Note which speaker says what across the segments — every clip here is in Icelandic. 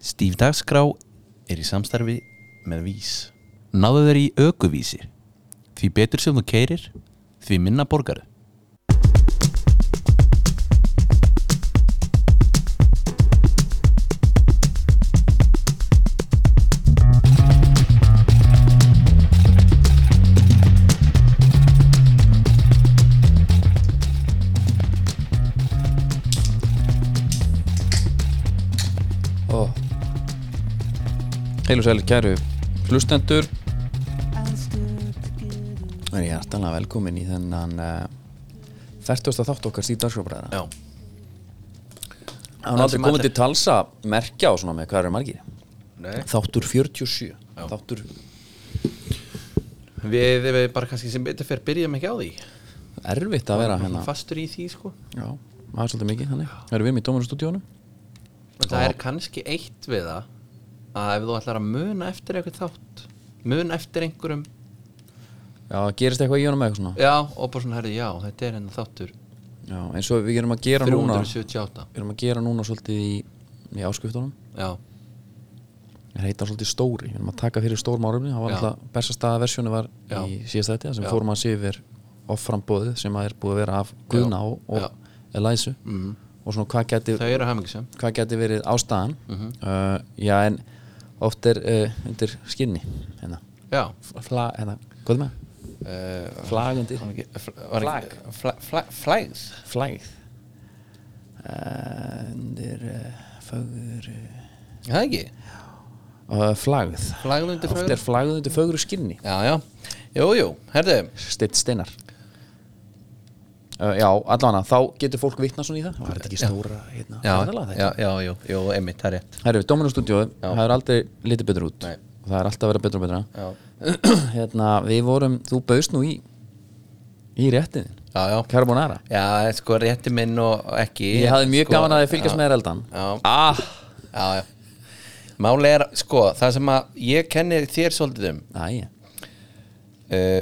Speaker 1: Stíf Dagskrá er í samstarfi með Vís. Náðu þeir í aukuvísi. Því betur sem þú keirir, því minna borgaru.
Speaker 2: Ó. Heil og sælir kæru hlustendur
Speaker 3: Það er hjartalega velkomin í þennan uh, 40. þátt okkar Stíf Dagskrábræðina
Speaker 1: Já.
Speaker 3: Það er aldrei komin til talsa merkja á svona með hvað eru margir
Speaker 1: Nei.
Speaker 3: Eh? Þáttur 47 Þáttur,
Speaker 1: Við, við bara kannski sem betur fyrir byrjum ekki á því.
Speaker 3: erfitt að vera hérna
Speaker 1: Fastur í því sko.
Speaker 3: Já, það er svolítið mikið þannig Það eru við með dómarastúdíónu
Speaker 1: Og það er kannski eitt við það að ef þú ætlar að muna eftir eitthvað þátt muna eftir einhverjum
Speaker 3: Já, gerist eitthvað í honum með eitthvað svona
Speaker 1: já og bara svona herri já þetta er henni þáttur
Speaker 3: Já, eins og við erum að gera núna
Speaker 1: 378
Speaker 3: Við erum að gera núna svolítið í, í áskiptunum
Speaker 1: já
Speaker 3: Það heitar svolítið stóri, við erum að taka fyrir stór málumni Það var
Speaker 1: Já.
Speaker 3: alltaf, bestastaða versjónu var
Speaker 1: Já.
Speaker 3: í síðast þetta sem
Speaker 1: Já.
Speaker 3: fórum að sé yfir offrambóðið sem að er búið að vera af Guðna og,
Speaker 1: Já. Mhm.
Speaker 3: og Elisu mm. og svona hvað geti,
Speaker 1: þau Mhm. eru hamingisum
Speaker 3: hvað geti verið ástæðan uh, Já, en oft er uh, undir skinni hérna,
Speaker 1: já
Speaker 3: fla, hérna, hvað er með?
Speaker 1: uh,
Speaker 3: Flag undir,
Speaker 1: flag flags
Speaker 3: flagð uh, undir uh, fögur
Speaker 1: það ekki
Speaker 3: uh, flagð
Speaker 1: flaglundi
Speaker 3: Oft er
Speaker 1: flagur
Speaker 3: flagð undir fögru skinni
Speaker 1: já já jú jú herri
Speaker 3: Steitt Steinar uh, Já, allavega, þá getur fólk vitna svona í það Var þetta ekki stóra hérna
Speaker 1: já
Speaker 3: ferðalag þetta?
Speaker 1: já já jú jú einmitt það er rétt
Speaker 3: Herru, Dominus Studio, það er aldrei litið betur út
Speaker 1: Nei.
Speaker 3: og það er alltaf að vera betur og betra
Speaker 1: já
Speaker 3: Hérna, við vorum, þú baust nú í í réttin,
Speaker 1: já já
Speaker 3: Carbonara
Speaker 1: já sko rétti minn og ekki
Speaker 3: Ég hafði mjög
Speaker 1: Sko,
Speaker 3: gaman að þið fylgjast
Speaker 1: já.
Speaker 3: með þér eldan
Speaker 1: Já.
Speaker 3: ah,
Speaker 1: Já, já Máli er, sko, það sem að ég kenni þér svolítið um
Speaker 3: Æja,
Speaker 1: uh,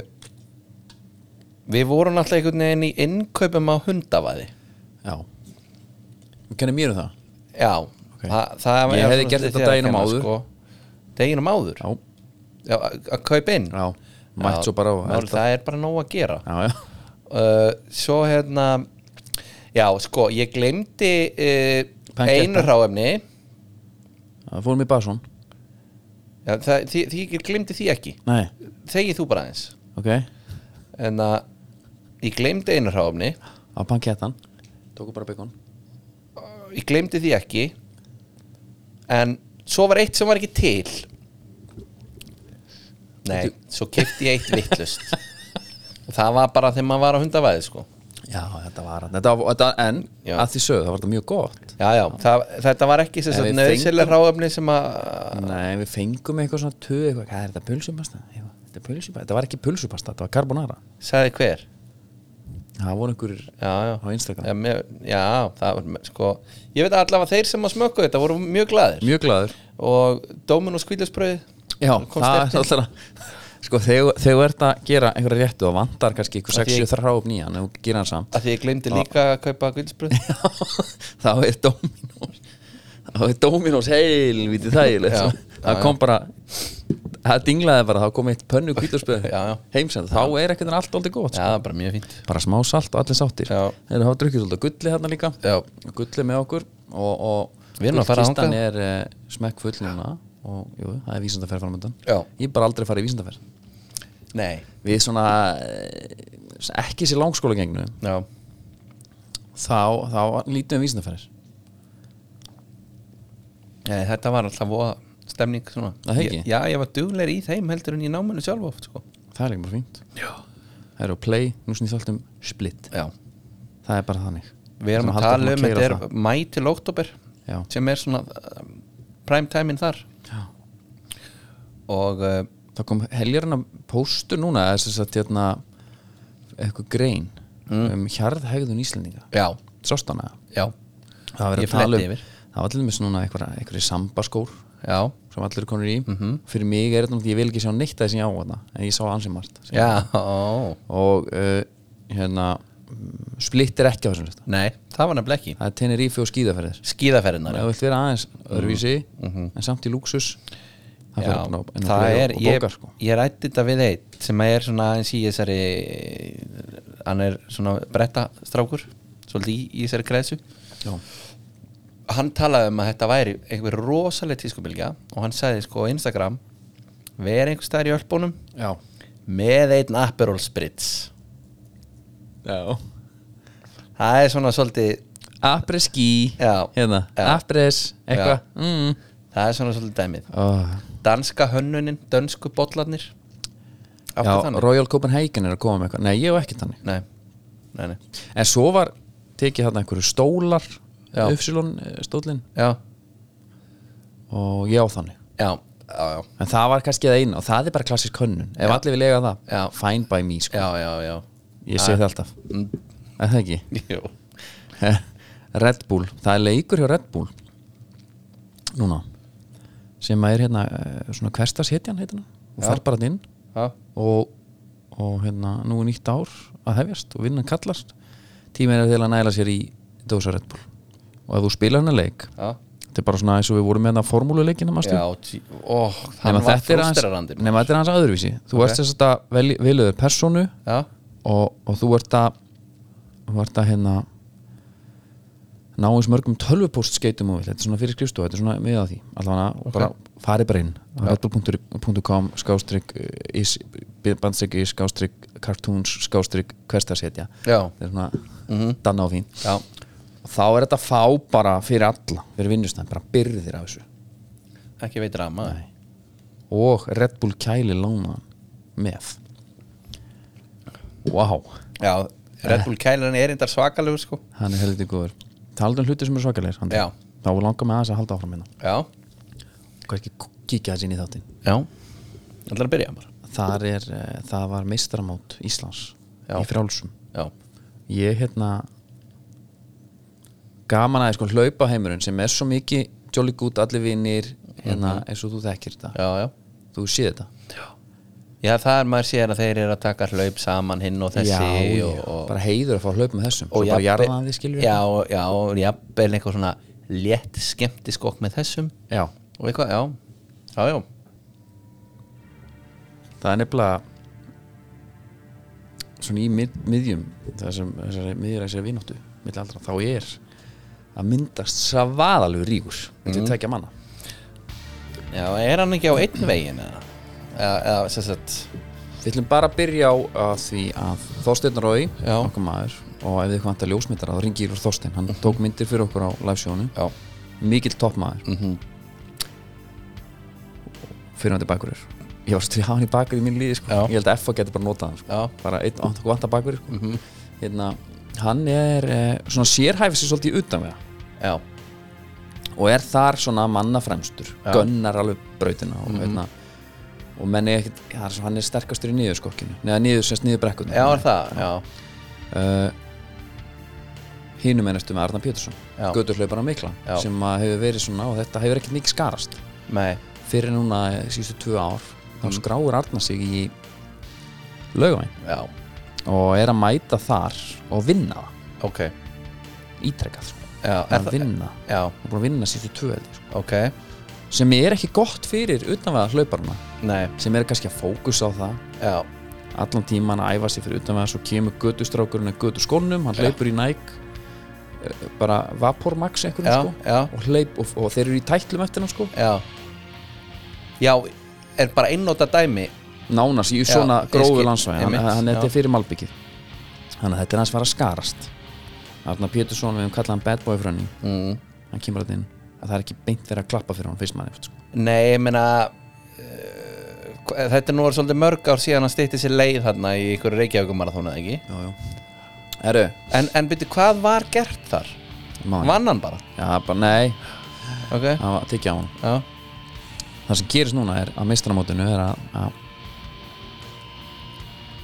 Speaker 1: Við vorum alltaf einhvern veginn í innkaupum á hundavaði
Speaker 3: já Þú kennir mér um það
Speaker 1: Já það, það
Speaker 3: Ég
Speaker 1: er
Speaker 3: hefði
Speaker 1: svona svolítið
Speaker 3: gert þetta
Speaker 1: þér að
Speaker 3: deginum
Speaker 1: kenna, sko.
Speaker 3: áður.
Speaker 1: Deginum áður?
Speaker 3: Já,
Speaker 1: Já, að að kaupa inn
Speaker 3: já, mætt svo bara á
Speaker 1: Máli,
Speaker 3: elda.
Speaker 1: Það er bara nóg að gera
Speaker 3: Já, já,
Speaker 1: uh, Svo hérna Já, sko, ég glemdi uh,
Speaker 3: Panketta.
Speaker 1: einu ráefni
Speaker 3: það fórum í Basson
Speaker 1: já, það, því, því ég glemdi því ekki
Speaker 3: Nei,
Speaker 1: Þegi þú bara aðeins
Speaker 3: ok, á
Speaker 1: En að ég glemdi einu ráefni
Speaker 3: pankettan Tóku bara byggun
Speaker 1: ég glemdi því ekki en svo var eitt sem var ekki til nei, svo kefti ég eitt vittlust og það var bara þegar maður var á hundavæði sko.
Speaker 3: Já, þetta var þetta, var- þetta, En
Speaker 1: Já.
Speaker 3: að því sögðu, það var þetta mjög gott
Speaker 1: já, já, það, þetta var ekki
Speaker 3: En við
Speaker 1: nöðsilega ráöfni sem að
Speaker 3: Nei, við fengum eitthvað svona töð eitthvað, Hvað er þetta, pulsupasta? Eitthvað, Þetta, er pulsupasta. þetta var ekki pulsupasta, þetta var carbonara
Speaker 1: sagði hver
Speaker 3: Það voru einhverjir
Speaker 1: já, já,
Speaker 3: á Instagram
Speaker 1: já, mér, já það var, sko, ég veit að allavega þeir sem að smökku þetta voru mjög glaðir
Speaker 3: Mjög glaður
Speaker 1: og dómin og skvílusbröð
Speaker 3: Já,
Speaker 1: Komst
Speaker 3: það er
Speaker 1: eftir.
Speaker 3: alltaf Sko, þegar þegar þú ert að gera einhverja réttu og vantar kannski einhver
Speaker 1: Af því
Speaker 3: 60 þráum nýjan og gera hann samt
Speaker 1: að því ég glemdi líka að kaupa skvílusbröð
Speaker 3: þá er Dominos þá er Dominos heilvítið þægileg
Speaker 1: Já,
Speaker 3: það kom bara það dinglaði bara, þá kom eitt pönnu kvítarspöð
Speaker 1: Já, já.
Speaker 3: heimsend, þá er ekkert en allt aldrei gott sko.
Speaker 1: já, það var bara mjög fínt
Speaker 3: bara smá salt og allir sáttir
Speaker 1: Já.
Speaker 3: þeir hafa drukkið svolítið gulli hérna líka
Speaker 1: Já.
Speaker 3: gulli með okkur og, og
Speaker 1: Við erum að fara
Speaker 3: gullkistan
Speaker 1: þangað.
Speaker 3: er uh, smekk full núna og jú, það er vísindaferð framöndan
Speaker 1: Já.
Speaker 3: ég er bara aldrei að fara í vísindaferð
Speaker 1: nei,
Speaker 3: við svona uh, ekki sér langskóla gengnu
Speaker 1: já,
Speaker 3: þá, þá lítum við vísindaferðir
Speaker 1: Nei, þetta var alltaf voða stemning svona
Speaker 3: Það ekki?
Speaker 1: Ég- Já, ég var duglegri í þeim heldur en í náminu sjálf oft sko.
Speaker 3: Það er ekki bara fínt Já Það eru að play, nú snýst allt um split
Speaker 1: Já
Speaker 3: Það er bara þannig
Speaker 1: Við erum
Speaker 3: Sem
Speaker 1: að
Speaker 3: halda
Speaker 1: tala
Speaker 3: áfram
Speaker 1: um, þetta er
Speaker 3: keyra það.
Speaker 1: mæ til oktober
Speaker 3: Já.
Speaker 1: sem er svona um, prime time-in þar
Speaker 3: Já.
Speaker 1: og uh,
Speaker 3: Það kom heljarna póstur núna eða þess að hérna eitthvað grein
Speaker 1: Mm.
Speaker 3: um hjarðhegðun Íslendinga
Speaker 1: já,
Speaker 3: Sást hana
Speaker 1: já,
Speaker 3: Það var verið
Speaker 1: Ég
Speaker 3: að tala
Speaker 1: fletti
Speaker 3: um
Speaker 1: yfir.
Speaker 3: Það var allir með svona einhverja, einhverja sambaskór
Speaker 1: já
Speaker 3: sem allir eru konur í
Speaker 1: Mhm.
Speaker 3: Fyrir mig er þetta, náttúrulega- ég vil ekki sjá neitt að þessi á þarna en ég sá ansi margt
Speaker 1: Já, ó,
Speaker 3: og uh, eh, hérna mm, splitt er ekki á þessum lista
Speaker 1: Nei, það var nefnilega ekki
Speaker 3: það er Tenerife og skíðaferðir
Speaker 1: Skíðaferðinar
Speaker 3: það vilt vera aðeins öðruvísi en samt í luxus það, fer
Speaker 1: Mhm, Já,
Speaker 3: bara á- inn á
Speaker 1: það
Speaker 3: Play
Speaker 1: er,
Speaker 3: og, og
Speaker 1: ég,
Speaker 3: bókar, sko.
Speaker 1: ég rætti þetta við eitt sem er svona eins í þessari hann er svona bretta strákur svolítið í, í þessari kreðsu
Speaker 3: Já.
Speaker 1: hann talaði um að þetta væri einhver rosaleg tískubilgja og hann sagði sko á Instagram veri einhver staðar í ölpunum
Speaker 3: Já.
Speaker 1: með einn Aperol Spritz
Speaker 3: Já.
Speaker 1: það er svona svolítið
Speaker 3: Apres ski
Speaker 1: Já.
Speaker 3: hérna,
Speaker 1: Já.
Speaker 3: Apres eitthvað mm.
Speaker 1: það er svona svolítið dæmið
Speaker 3: oh.
Speaker 1: danska hönnunin, dönsku bollarnir áttu
Speaker 3: Já,
Speaker 1: þannig
Speaker 3: Royal Copenhagen er að koma með eitthvað Nei, ég hef ekki þannig
Speaker 1: nei, nei, nei
Speaker 3: En svo var tekið þarna einhverju stólar
Speaker 1: Já.
Speaker 3: Upsilon eh, stólinn
Speaker 1: já,
Speaker 3: Og ég á þannig
Speaker 1: já, já, já
Speaker 3: En það var kannski það eina og það er bara klassisk hönnun Ef allir vil eiga það,
Speaker 1: Já.
Speaker 3: fine by me sko.
Speaker 1: já, já, já
Speaker 3: Ég sé það alltaf Er það ekki?
Speaker 1: Mm, Jú.
Speaker 3: Red Bull, það er leikur hjá Red Bull Núna Sem að er hérna eh, svona hverstas hetjan heitina Og
Speaker 1: Já.
Speaker 3: fer bara þarna inn
Speaker 1: Já.
Speaker 3: og, og hérna nú er nýtt ár að hefjast og vinnan kallast tíminn er til að næla sér í dósa Red Bull og ef þú spilar hennar leik
Speaker 1: Já.
Speaker 3: þetta er bara svona eins og við vorum með hérna það formúluleikina
Speaker 1: Já,
Speaker 3: nema
Speaker 1: tí, ó, hann var
Speaker 3: þetta er
Speaker 1: frústerarandi
Speaker 3: aðeins nema þetta er aðeins öðruvísi þú okay. ert þess að vel, veljuðu personu
Speaker 1: Já,
Speaker 3: og, og þú ert að þú ert að hérna ná eins mörgum tölvupóst skeitum og vill þetta er svona fyrir skrifstofu, þetta er svona miðað að því allavega bara farið bara inn á redbull.com skástrík is, bandstrík is skástrík cartoons skástrík hverstasetja
Speaker 1: Já.
Speaker 3: þetta er svona mm danna á því
Speaker 1: já,
Speaker 3: og þá er þetta að fá bara fyrir alla fyrir vinnustæðin, bara byrðir af þessu
Speaker 1: ekki veit rama Nei.
Speaker 3: og Red Bull kæli lána með wow
Speaker 1: Já, Red Bull kælan er eindar svakalegur sko
Speaker 3: hann er heldur góður talaðu um hluti sem eru svakalegir Andri.
Speaker 1: Já.
Speaker 3: þá langar með aðeins að halda áfram hérna
Speaker 1: Já,
Speaker 3: kannski kíkja aðeins inn í þáttinn
Speaker 1: já Það er að byrja bara
Speaker 3: þar er, eh, það var meistramót Íslands
Speaker 1: Já.
Speaker 3: í frálsum
Speaker 1: Já,
Speaker 3: ég hérna gaman aðeins sko hlaupa heimurinn sem er svo mikið jolly good allir vinnir hérna
Speaker 1: Mhm.
Speaker 3: eins og þú þekkir þetta
Speaker 1: já, já
Speaker 3: þú séð þetta
Speaker 1: Já, það er maður sér að þeir eru að taka hlaup saman hinn og þessi
Speaker 3: já,
Speaker 1: og, og,
Speaker 3: bara heiður að fá að hlaupa með þessum
Speaker 1: og
Speaker 3: og bara
Speaker 1: jafnvel-
Speaker 3: jarða að því skilur
Speaker 1: Já, já, og jafnvel einhver svona létt skemmtiskokk með þessum
Speaker 3: já
Speaker 1: og eitthvað, já, já, já
Speaker 3: það er nefnilega svona í mið, miðjum þessum, þessari miðjur þessari vinóttu milli aldra, þá er að myndast svaðalegu ríkur þetta
Speaker 1: Mhm.
Speaker 3: er tekja manna
Speaker 1: Já, er hann ekki á einn veginn eða? Eða, eða sem sagt
Speaker 3: við ætlum bara að byrja á að því að Þorsteinn Rói,
Speaker 1: Já.
Speaker 3: okkur maður og ef þið vantar ljósmyndara þá ringir úr Þorsteinn hann tók myndir fyrir okkur á livesjónu
Speaker 1: Mhm. Já, Mhm.
Speaker 3: mikill toppmaður mm -hmm. fyrirvændi bakurir ég var svo til að hafa hann í bakur í mínu líði sko.
Speaker 1: Já.
Speaker 3: ég held að FA geti bara notað hann
Speaker 1: Já. Mhm.
Speaker 3: sko. bara einn og hann vantar bakur sko. hérna, hann er eh, svona sérhæfis sér svolítið utan við það
Speaker 1: já,
Speaker 3: og er þar svona manna fremstur
Speaker 1: Já. Mhm.
Speaker 3: gönnar alveg brautina og, hérna, og menn er ekkert það er svo- hann er sterkastur í niðurskokkinu neða niður, semst niður brekkunni
Speaker 1: já er það Já,
Speaker 3: uh, hínum ennastu með Arna Pétursson
Speaker 1: Já.
Speaker 3: götur hlaupar á mikla
Speaker 1: Já.
Speaker 3: sem að hefur verið svona og þetta hefur ekkert mikið skarast
Speaker 1: nei,
Speaker 3: fyrir núna eh, síðustu tvö ár þá
Speaker 1: Mhm.
Speaker 3: skráir Arna sig í laugavæn
Speaker 1: já,
Speaker 3: og er að mæta þar og vinna það
Speaker 1: ok Já,
Speaker 3: ítrekkað sko.
Speaker 1: er
Speaker 3: að
Speaker 1: það
Speaker 3: vinna
Speaker 1: Já,
Speaker 3: og búin að vinna síðustu tvö heldur sko.
Speaker 1: ok,
Speaker 3: sem er ekki gott fyrir utanvega hlauparna
Speaker 1: nei,
Speaker 3: sem er kannski að fókusa á það
Speaker 1: já,
Speaker 3: allan tíman að æfa sig fyrir utanvega svo kemur gödustrákurinn að gödu skónum hann hlaupur í næk bara Vapormax einhvern
Speaker 1: Já,
Speaker 3: sko
Speaker 1: já.
Speaker 3: Og, hleyp, og, og þeir eru í tætlum eftir hann sko
Speaker 1: já Já, er bara einnóta dæmi
Speaker 3: nánast í
Speaker 1: Já,
Speaker 3: svona
Speaker 1: ég
Speaker 3: gróðu
Speaker 1: skil,
Speaker 3: landsvæði hann,
Speaker 1: einmitt,
Speaker 3: hann þetta
Speaker 1: já.
Speaker 3: er fyrir malbyggið þannig að þetta er hans fara að skarast Arna Pétursson, við höfum kallað hann bad boy frá henni
Speaker 1: mm.
Speaker 3: hann kemur þetta inn að það er ekki beint verið að klappa fyrir hann fyrst manni sko.
Speaker 1: Nei, ég meina uh, hva- Þetta er nú var svolítið mörg ár síðan að stýtti sér leið þarna í ykkur reykjaugumarathónu, ekki?
Speaker 3: Herru,
Speaker 1: En, en byrju, hvað var gert þar?
Speaker 3: maður
Speaker 1: Vann hann bara,
Speaker 3: já, bara nei,
Speaker 1: ok?
Speaker 3: það var tekið á hann
Speaker 1: Já,
Speaker 3: það sem gerist núna er að mistramótinu er að, að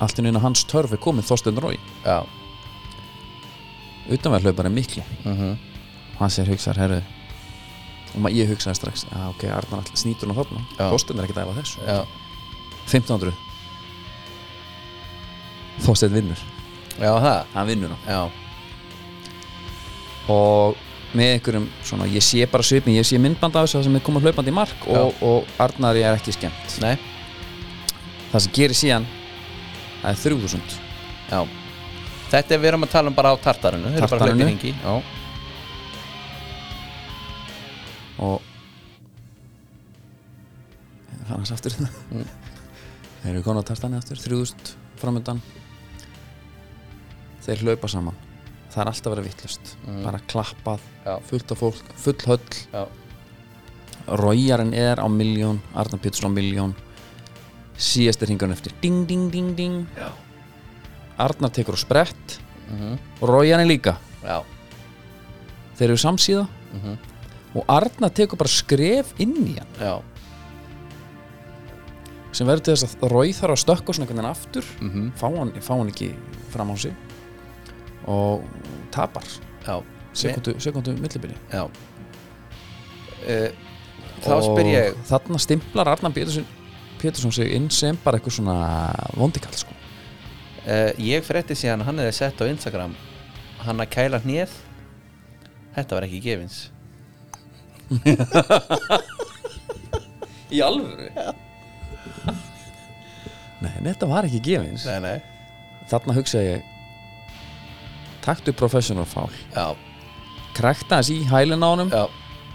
Speaker 3: allt í nýna hans törf er komið Þorstein Rói
Speaker 1: já,
Speaker 3: utanverð hlaupar er mikli hann sér hugsar, herru og ma- ég hugsaði strax, að ok, Arnar allir snýtur hann á þarna,
Speaker 1: Já.
Speaker 3: Þorstein er ekki að æfa þessu
Speaker 1: já
Speaker 3: 1500 Þorsteinn vinnur
Speaker 1: Já, það
Speaker 3: hann vinnur hann
Speaker 1: Já,
Speaker 3: og með einhverjum svona, ég sé bara svipin, ég sé myndband af þessu þar sem er komað hlaupandi í mark og, og Arnari er ekki skemmt
Speaker 1: nei,
Speaker 3: það sem gerir síðan það er 3000
Speaker 1: já Þetta er við erum að tala um bara á tartarinu Þeir eru bara
Speaker 3: Tartarinu.
Speaker 1: hlaupin hengi Já,
Speaker 3: og fann hans aftur þetta þeir eru konar tartani aftur 3000 framöndan þeir hlaupa saman það er alltaf að vera vittlust bara klappað,
Speaker 1: Já.
Speaker 3: fullt af fólk full höll,
Speaker 1: já,
Speaker 3: Rójarinn er á miljón Arnar Pétursson á miljón síðast er hringarinn eftir ding ding ding ding Já. Arnar tekur á sprett og Rójarinn líka
Speaker 1: já,
Speaker 3: þeir eru samsíða og Arnar tekur bara skref inn í hann
Speaker 1: já
Speaker 3: sem verður til þess að Rói þarf að stökka svona einhvern veginn aftur
Speaker 1: Mhm.
Speaker 3: fá, hann, fá hann ekki fram á sig og tapar
Speaker 1: Já,
Speaker 3: sekundu, sekundu millibili
Speaker 1: já uh, Þá spyr ég
Speaker 3: þarna stimplar Arnar Pétursson, Pétursson sig inn sem bara eitthvað svona vondikall sko.
Speaker 1: uh, Ég frétti síðan að hann hefði sett á Instagram Hann að kæla hnið Þetta var ekki gefins
Speaker 2: Í alvöru?
Speaker 3: nei, en þetta var ekki gefins
Speaker 1: Nei, nei
Speaker 3: þarna hugsaði ég taktu professional fál
Speaker 1: Já,
Speaker 3: krækta þess í hælinn á honum
Speaker 1: já,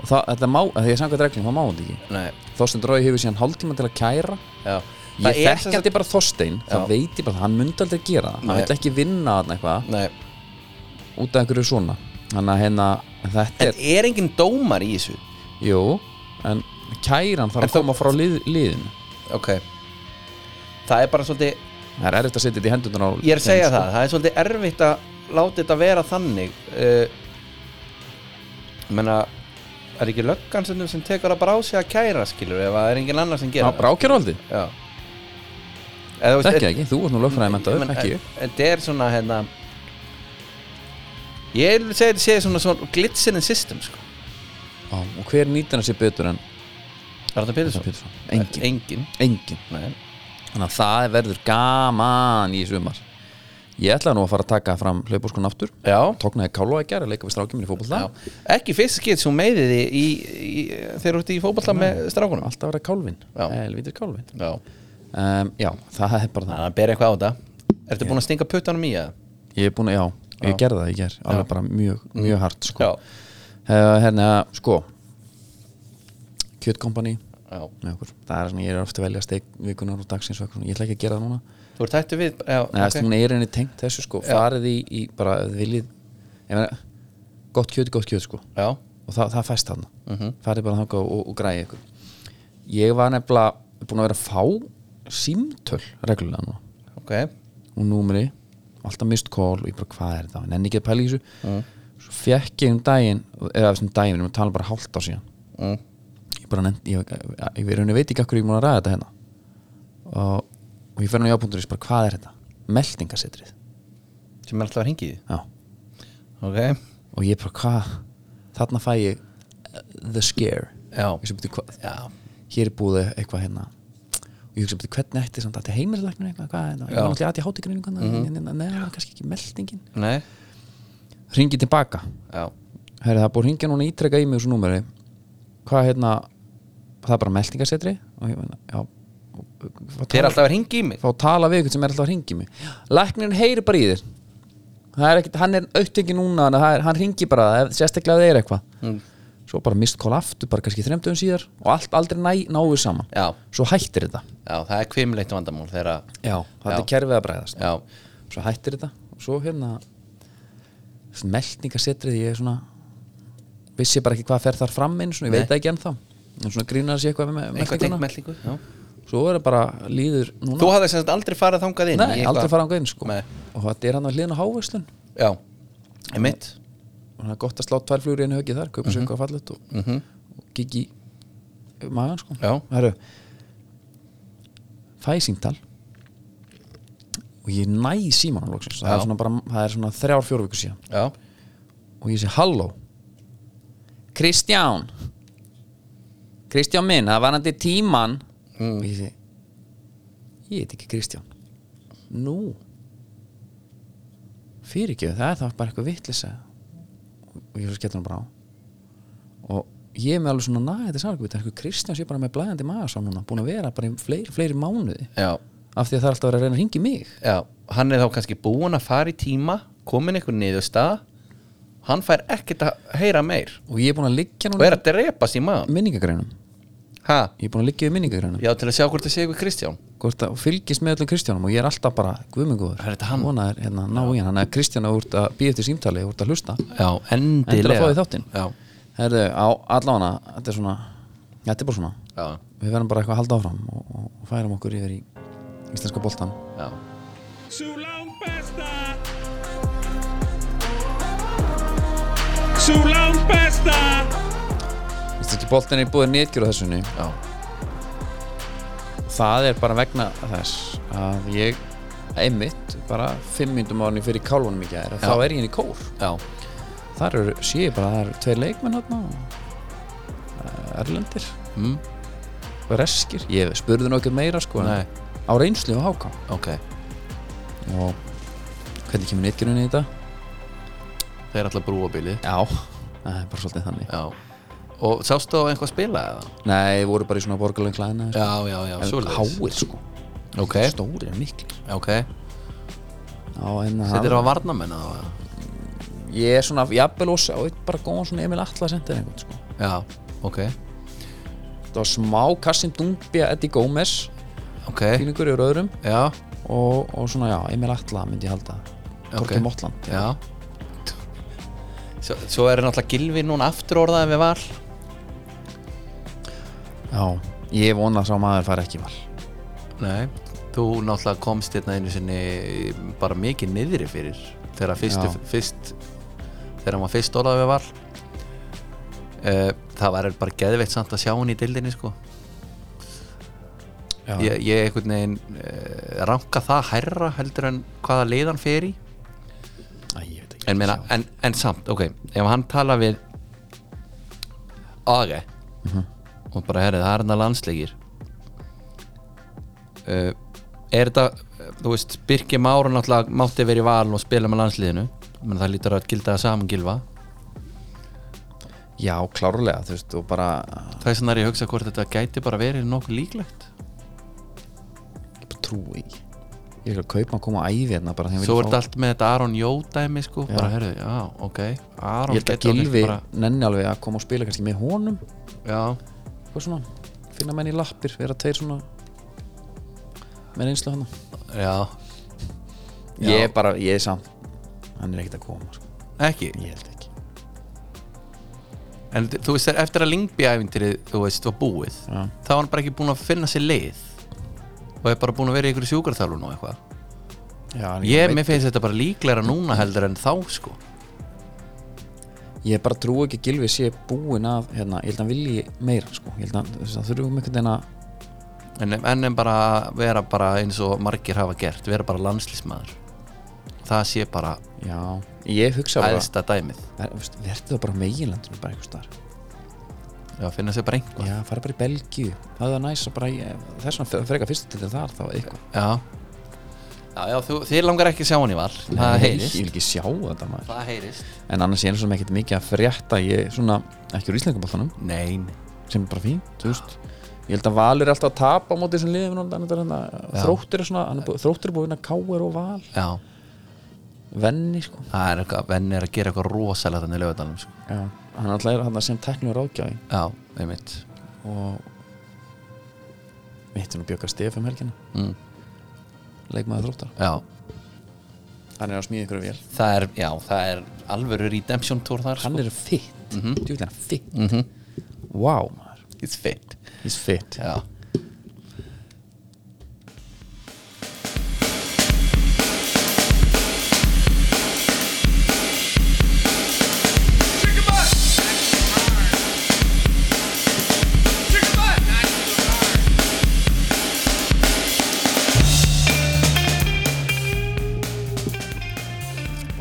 Speaker 3: og það, þetta má, þegar ég samkvæmt reglum, það má hann ekki
Speaker 1: nei
Speaker 3: Þorstein Rói hefur síðan hálftíma til að kæra
Speaker 1: Já Það er sem
Speaker 3: Ég þekk
Speaker 1: sagt-
Speaker 3: aldrei bara Þorstein
Speaker 1: Já.
Speaker 3: Það veit ég bara, hann myndi aldrei gera það Hann
Speaker 1: Nei.
Speaker 3: vil ekki vinna þarna eitthvað
Speaker 1: Nei
Speaker 3: Út af einhverju svona Þannig að hérna, þetta
Speaker 1: En
Speaker 3: er
Speaker 1: er engin dómar í þessu?
Speaker 3: Jú, en kæran þarf
Speaker 1: En
Speaker 3: að
Speaker 1: þú-
Speaker 3: koma frá lið, liðinu
Speaker 1: Ok Það er bara svolítið
Speaker 3: Það er erfitt að setja þetta í hendunar á
Speaker 1: Ég er að
Speaker 3: þeim,
Speaker 1: segja
Speaker 3: sko.
Speaker 1: það, það er svolítið erfitt að láta þetta vera þannig uh, menna er ekki löggan sem, sem tekur að brá sig að kæra skilur ef það er engin annar sem
Speaker 3: Ná,
Speaker 1: gera
Speaker 3: brákjárvaldi,
Speaker 1: Já Eða,
Speaker 3: þekki það ekki, þú ert nú lögfræði mentaður, ekki ég.
Speaker 1: Þetta er svona hérna Ég vil segja þetta sé svona, svona glitsin in system sko
Speaker 3: Á, Og hver nýtir hann sér betur en
Speaker 1: Arna Pétursson
Speaker 3: Pétursson? Engin,
Speaker 1: Engin
Speaker 3: engin
Speaker 1: Nei.
Speaker 3: Þannig að það verður gaman í sumar Ég ætla nú að fara að taka fram hlaupbúrskun aftur
Speaker 1: Já
Speaker 3: Tóknaði Kálo að gera, leika við strákjum í fótbolta
Speaker 1: Já. Ekki fyrst skipt sem meiðið í, í, í, þegar þú ert í fótballa með strákunum
Speaker 3: Alltaf að vera Kálvin,
Speaker 1: Já.
Speaker 3: helvítir Kálvin
Speaker 1: Já
Speaker 3: um, Já, það er bara það
Speaker 1: Þannig að bera eitthvað á þetta Ertu búin að stinga puttanum í það?
Speaker 3: Ég er búin að, já, ég gerði það, ég ger Alveg bara mjög, mjög hart, sko uh, Hérna, sko Kjötkompani
Speaker 1: já
Speaker 3: með okkur Það er svona, ég er ofta að velja steik vikunar og dagsins og eitthvað svona Ég ætla ekki að gera það núna Nei,
Speaker 1: Þú ert hættu við já,
Speaker 3: okay. það
Speaker 1: ok.
Speaker 3: er svona, ég er henni tengt þessu, sko Farið í, í bara, ef þið viljið Ég meina, gott kjöt, gott kjöt, sko
Speaker 1: já,
Speaker 3: og það, það fæst þarna farið bara þangað og, og græði ykkur ég var nefnilega búin að vera að fá símtöl reglulega núna
Speaker 1: ok
Speaker 3: og númeri og alltaf mist call og ég bara hvað er það, nenni ekki að pæla í þessu svo fekk ég um daginn eða þessum daginn, við erum að tala bara hálft á síðan
Speaker 1: mm.
Speaker 3: ég bara nenni, ég, ég, ég, ég veit ekki akkur ég er múin að ræða þetta hérna og, og ég fer nú í ábúndur og ég bara hvað er þetta, meldingasetrið
Speaker 1: Sem er alltaf að hringi í
Speaker 3: já,
Speaker 1: því Ok
Speaker 3: og ég bara hvað þarna fæ ég uh, the scare
Speaker 1: Já.
Speaker 3: ég sem betur hvað
Speaker 1: Já
Speaker 3: hér er búið eitthvað hérna og ég hugsa betur hvernig ætti samt að þetta heimilisleiknir eitthvað, hvað, hérna, ég
Speaker 1: Já.
Speaker 3: var náttúrulega að ég háti greiningu neða, það var kannski ekki meldingin
Speaker 1: Nei
Speaker 3: ringi tilbaka,
Speaker 1: Já
Speaker 3: herri það er búið að ringja núna ítreka í mig þessu númeri hvað hérna, það er bara meldingasetri og ég meina, já og- fá
Speaker 1: Þeir er
Speaker 3: tala-
Speaker 1: alltaf að hringi í mig
Speaker 3: fá að tala við ykkur sem er alltaf að ringi mig læknirinn heyri bara í þér það er ekkit, hann er auðtengi núna þannig að það er, hann ringi bara, ef- sérstaklega ef það er eitthvað
Speaker 1: Mm.
Speaker 3: svo bara mistkól aftur, bara kannski þremdöfum síðar og allt aldrei næ, náu saman
Speaker 1: Já,
Speaker 3: svo hættir þetta
Speaker 1: já, það er kvimleitt vandamál þegar að
Speaker 3: Já, þetta
Speaker 1: Já.
Speaker 3: er kerfið að bræðast
Speaker 1: Já,
Speaker 3: Svo hættir þetta og svo hérna svona meldingasetrið ég er svona vissi bara ekki hvað fer þar fram inn svona, ég
Speaker 1: Nei.
Speaker 3: veit það ekki ennþá en svona grínar sér eitthvað með
Speaker 1: eitthvað tengt
Speaker 3: meldingana
Speaker 1: meldingu já.
Speaker 3: Svo er það bara líður núna
Speaker 1: Þú hafði sem sagt aldrei farið þangað inn
Speaker 3: Nei, aldrei fara á inn sko
Speaker 1: Nei.
Speaker 3: og þetta er hann að hliðna hávæslun
Speaker 1: Já, ég mitt
Speaker 3: og það er gott að slá tvær flugur í einu höggi þar kaupa sér
Speaker 1: Mhm.
Speaker 3: eitthvað fallet og, mm -hmm. og gigi magan sko
Speaker 1: Já.
Speaker 3: Heru, fæ símtal og ég næ símanum loksins það er,
Speaker 1: Já.
Speaker 3: svona bara, það er svona þrjár fjóru viku síðan
Speaker 1: Já,
Speaker 3: og ég sé halló Kristján Kristján minn, það var hann til tíman og ég sé ég heit ekki Kristján nú fyrirgjöð, það er það bara eitthvað vitlisa og ég svo skellur hann bara á og ég er með alveg svona næði samvöku það er eitthvað Kristján sé bara með blæðandi maður sá núna búin að vera bara í fleiri, fleiri mánuði
Speaker 1: já,
Speaker 3: af því að það er alltaf að vera að reyna að ringi mig
Speaker 1: já, hann er þá kannski búin að fara í tíma komin einhver niðurstað hann fær ekkert að heyra meir
Speaker 3: og ég er búin að liggja
Speaker 1: og
Speaker 3: núna
Speaker 1: er að drepast í maður
Speaker 3: minningagreinum
Speaker 1: ha,
Speaker 3: ég er búin að liggja við minningagreinum
Speaker 1: já til að sjá hvort það sé ykkur Kristján
Speaker 3: hvort að og fylgist með öllum Kristjánum og ég er alltaf bara guðmengur
Speaker 1: Er þetta hann?
Speaker 3: er hérna ná í hann hann er Kristján og úrt að býja eftir símtali úrt að hlusta
Speaker 1: já, endilega
Speaker 3: endur að fá því þáttinn
Speaker 1: já,
Speaker 3: herðu á allavega þetta er svona þetta er bara svona
Speaker 1: já,
Speaker 3: við verðum bara eitthvað að halda áfram og, og, og færum okkur yfir í íslenska boltan
Speaker 1: já
Speaker 4: Sú lang besta Sú lang besta
Speaker 3: íslenski boltin er búið nýtgjur á þessunni
Speaker 1: já,
Speaker 3: það er bara vegna þess að ég einmitt bara fimm myndum árinni fyrir kálunum í gæðir þá er ég inn í kór
Speaker 1: já,
Speaker 3: þar eru, sé ég bara, það eru tveir leikmenn hérna eh, erlendir
Speaker 1: Mm.
Speaker 3: og reskir, ég spurði nú ekkert meira sko en
Speaker 1: Nei.
Speaker 3: á reynslu og háká
Speaker 1: ok
Speaker 3: og hvernig kemur nýtgjurinn í þetta?
Speaker 1: þeir er alltaf brúabilið
Speaker 3: Já, það er bara svolítið þannig
Speaker 1: já, og sástu á einhvað spila eða?
Speaker 3: Nei, voru bara í svona borgarlega klæðina
Speaker 1: já, já, já, svoleiðis.
Speaker 3: Háir sko,
Speaker 1: ok,
Speaker 3: stórir en miklir
Speaker 1: ok,
Speaker 3: Já, en
Speaker 1: þetta er
Speaker 3: það
Speaker 1: á varnamenn eða?
Speaker 3: Ég er svona, jafnvel og sá eitt bara góðan svona Emil Atla sendir einhvern sko
Speaker 1: já, ok,
Speaker 3: Það var smá Kassim Dungbia, Eddie Gómez
Speaker 1: ok
Speaker 3: fílingur yfir öðrum
Speaker 1: já,
Speaker 3: og, og svona, já, Emil Atla myndi ég halda Torki Mottland
Speaker 1: Já Svo, svo er náttúrulega Gilvi núna aftur orðað en við var
Speaker 3: Já, ég vona að sá maður fara ekki í val
Speaker 1: Nei Þú náttúrulega komst hérna einu sinni bara mikið niðri fyrir þegar fyrstu,
Speaker 3: Já.
Speaker 1: fyrst þegar hann var fyrst orðað við var Eh, Það var bara geðveitt samt að sjá hann í dildinni sko
Speaker 3: Já,
Speaker 1: ég, ég einhvern veginn uh, ranka það hærra heldur en hvaða leiðan fer í
Speaker 3: Æ, ég veit ekki
Speaker 1: en, meina, en, en samt, ok ef hann tala við AG
Speaker 3: Mhm.
Speaker 1: og bara herrið, það er hérna landsleikir uh, er þetta uh, þú veist, Birki Máru náttúrulega mátti verið í val og spila með landsliðinu menn það lítur að gilda það um saman gilva
Speaker 3: Já, klárlega, þú veist, og bara
Speaker 1: það er svona að ég hugsa hvort þetta gæti bara verið nokkuð líklegt
Speaker 3: ég bara trúi ekki. Ég er ekki að kaupa að koma að æfi hérna bara því að
Speaker 1: svo er
Speaker 3: vilja
Speaker 1: þetta allt með þetta Aron Jó dæmi sko, bara herrið, já, ok
Speaker 3: fá-
Speaker 1: Aron
Speaker 3: Ég held að
Speaker 1: gæti alveg
Speaker 3: Gylfi
Speaker 1: bara-
Speaker 3: nenni alveg að koma og spila kannski með honum
Speaker 1: já,
Speaker 3: Hvað svona, finna menn í lappir, vera tveir svona með reynslu hana
Speaker 1: já,
Speaker 3: Ég er bara, ég er samt Hann er ekkert að koma, sko.
Speaker 1: ekki
Speaker 3: ég held ekki
Speaker 1: En þú veist, þegar- eftir að Lingby-ævindrið, þú veist, var búið
Speaker 3: Já.
Speaker 1: þá var hann bara ekki búin að finna sér leið og er bara búin að vera í einhverju sjúkarþálun og eitthvað
Speaker 3: Já, en
Speaker 1: Ég,
Speaker 3: veit-
Speaker 1: mér finnst þetta bara líklega núna heldur en þá, sko
Speaker 3: ég bara trúi ekki að Gylfi sé búinn af hérna, ég held að hann vilji meira sko. ég held að þú veist, það þurfum einhvern veginn að
Speaker 1: En enn en bara vera bara eins og margir hafa gert vera bara landslísmaður Það sé bara
Speaker 3: já, ég hugsa bara
Speaker 1: æðsta dæmið
Speaker 3: ver- þú veist, verður það bara meginlandinu bara einhvers staðar
Speaker 1: Já, finna sér bara einhvað
Speaker 3: já, fara bara í Belgíu, það er næs að bara í, það er svona fre- frekar fyrstu til þar þá eitthvað
Speaker 1: Já, já, já þú, þið langar ekki að sjá hann í val Það heyrist
Speaker 3: ég vil ekki sjá þetta maður
Speaker 1: Það heyrist
Speaker 3: en annars ég er svona ekkert mikið að frétta ég svona, ekki úr Íslandingaballunum
Speaker 1: Nein
Speaker 3: sem er bara fín, þú veist ég held að Valur er alltaf að tapa á móti þessum liðum núna, þannig að hérna, þróttur er svona hann er búið- þróttur er búin að káir og val
Speaker 1: Já,
Speaker 3: venni sko
Speaker 1: það er eitthvað, venn er að gera eitthvað rosalega þannig lögadalum, sko
Speaker 3: já, hann alltaf er hann sem teknur ágjáði
Speaker 1: Já, einmitt
Speaker 3: og mitt er nú Bjökkar Stef um helgina
Speaker 1: mm,
Speaker 3: leikmaður þróttar,
Speaker 1: Já,
Speaker 3: hann er að smíða ykkur vél
Speaker 1: það er, já, það er alvöru redemption tour þar
Speaker 3: hann er fitt, mm -hmm. djúlega fitt
Speaker 1: Sko.
Speaker 3: mm
Speaker 1: Mhm.
Speaker 3: wow maður,
Speaker 1: It's fit
Speaker 3: he's fit
Speaker 1: Já,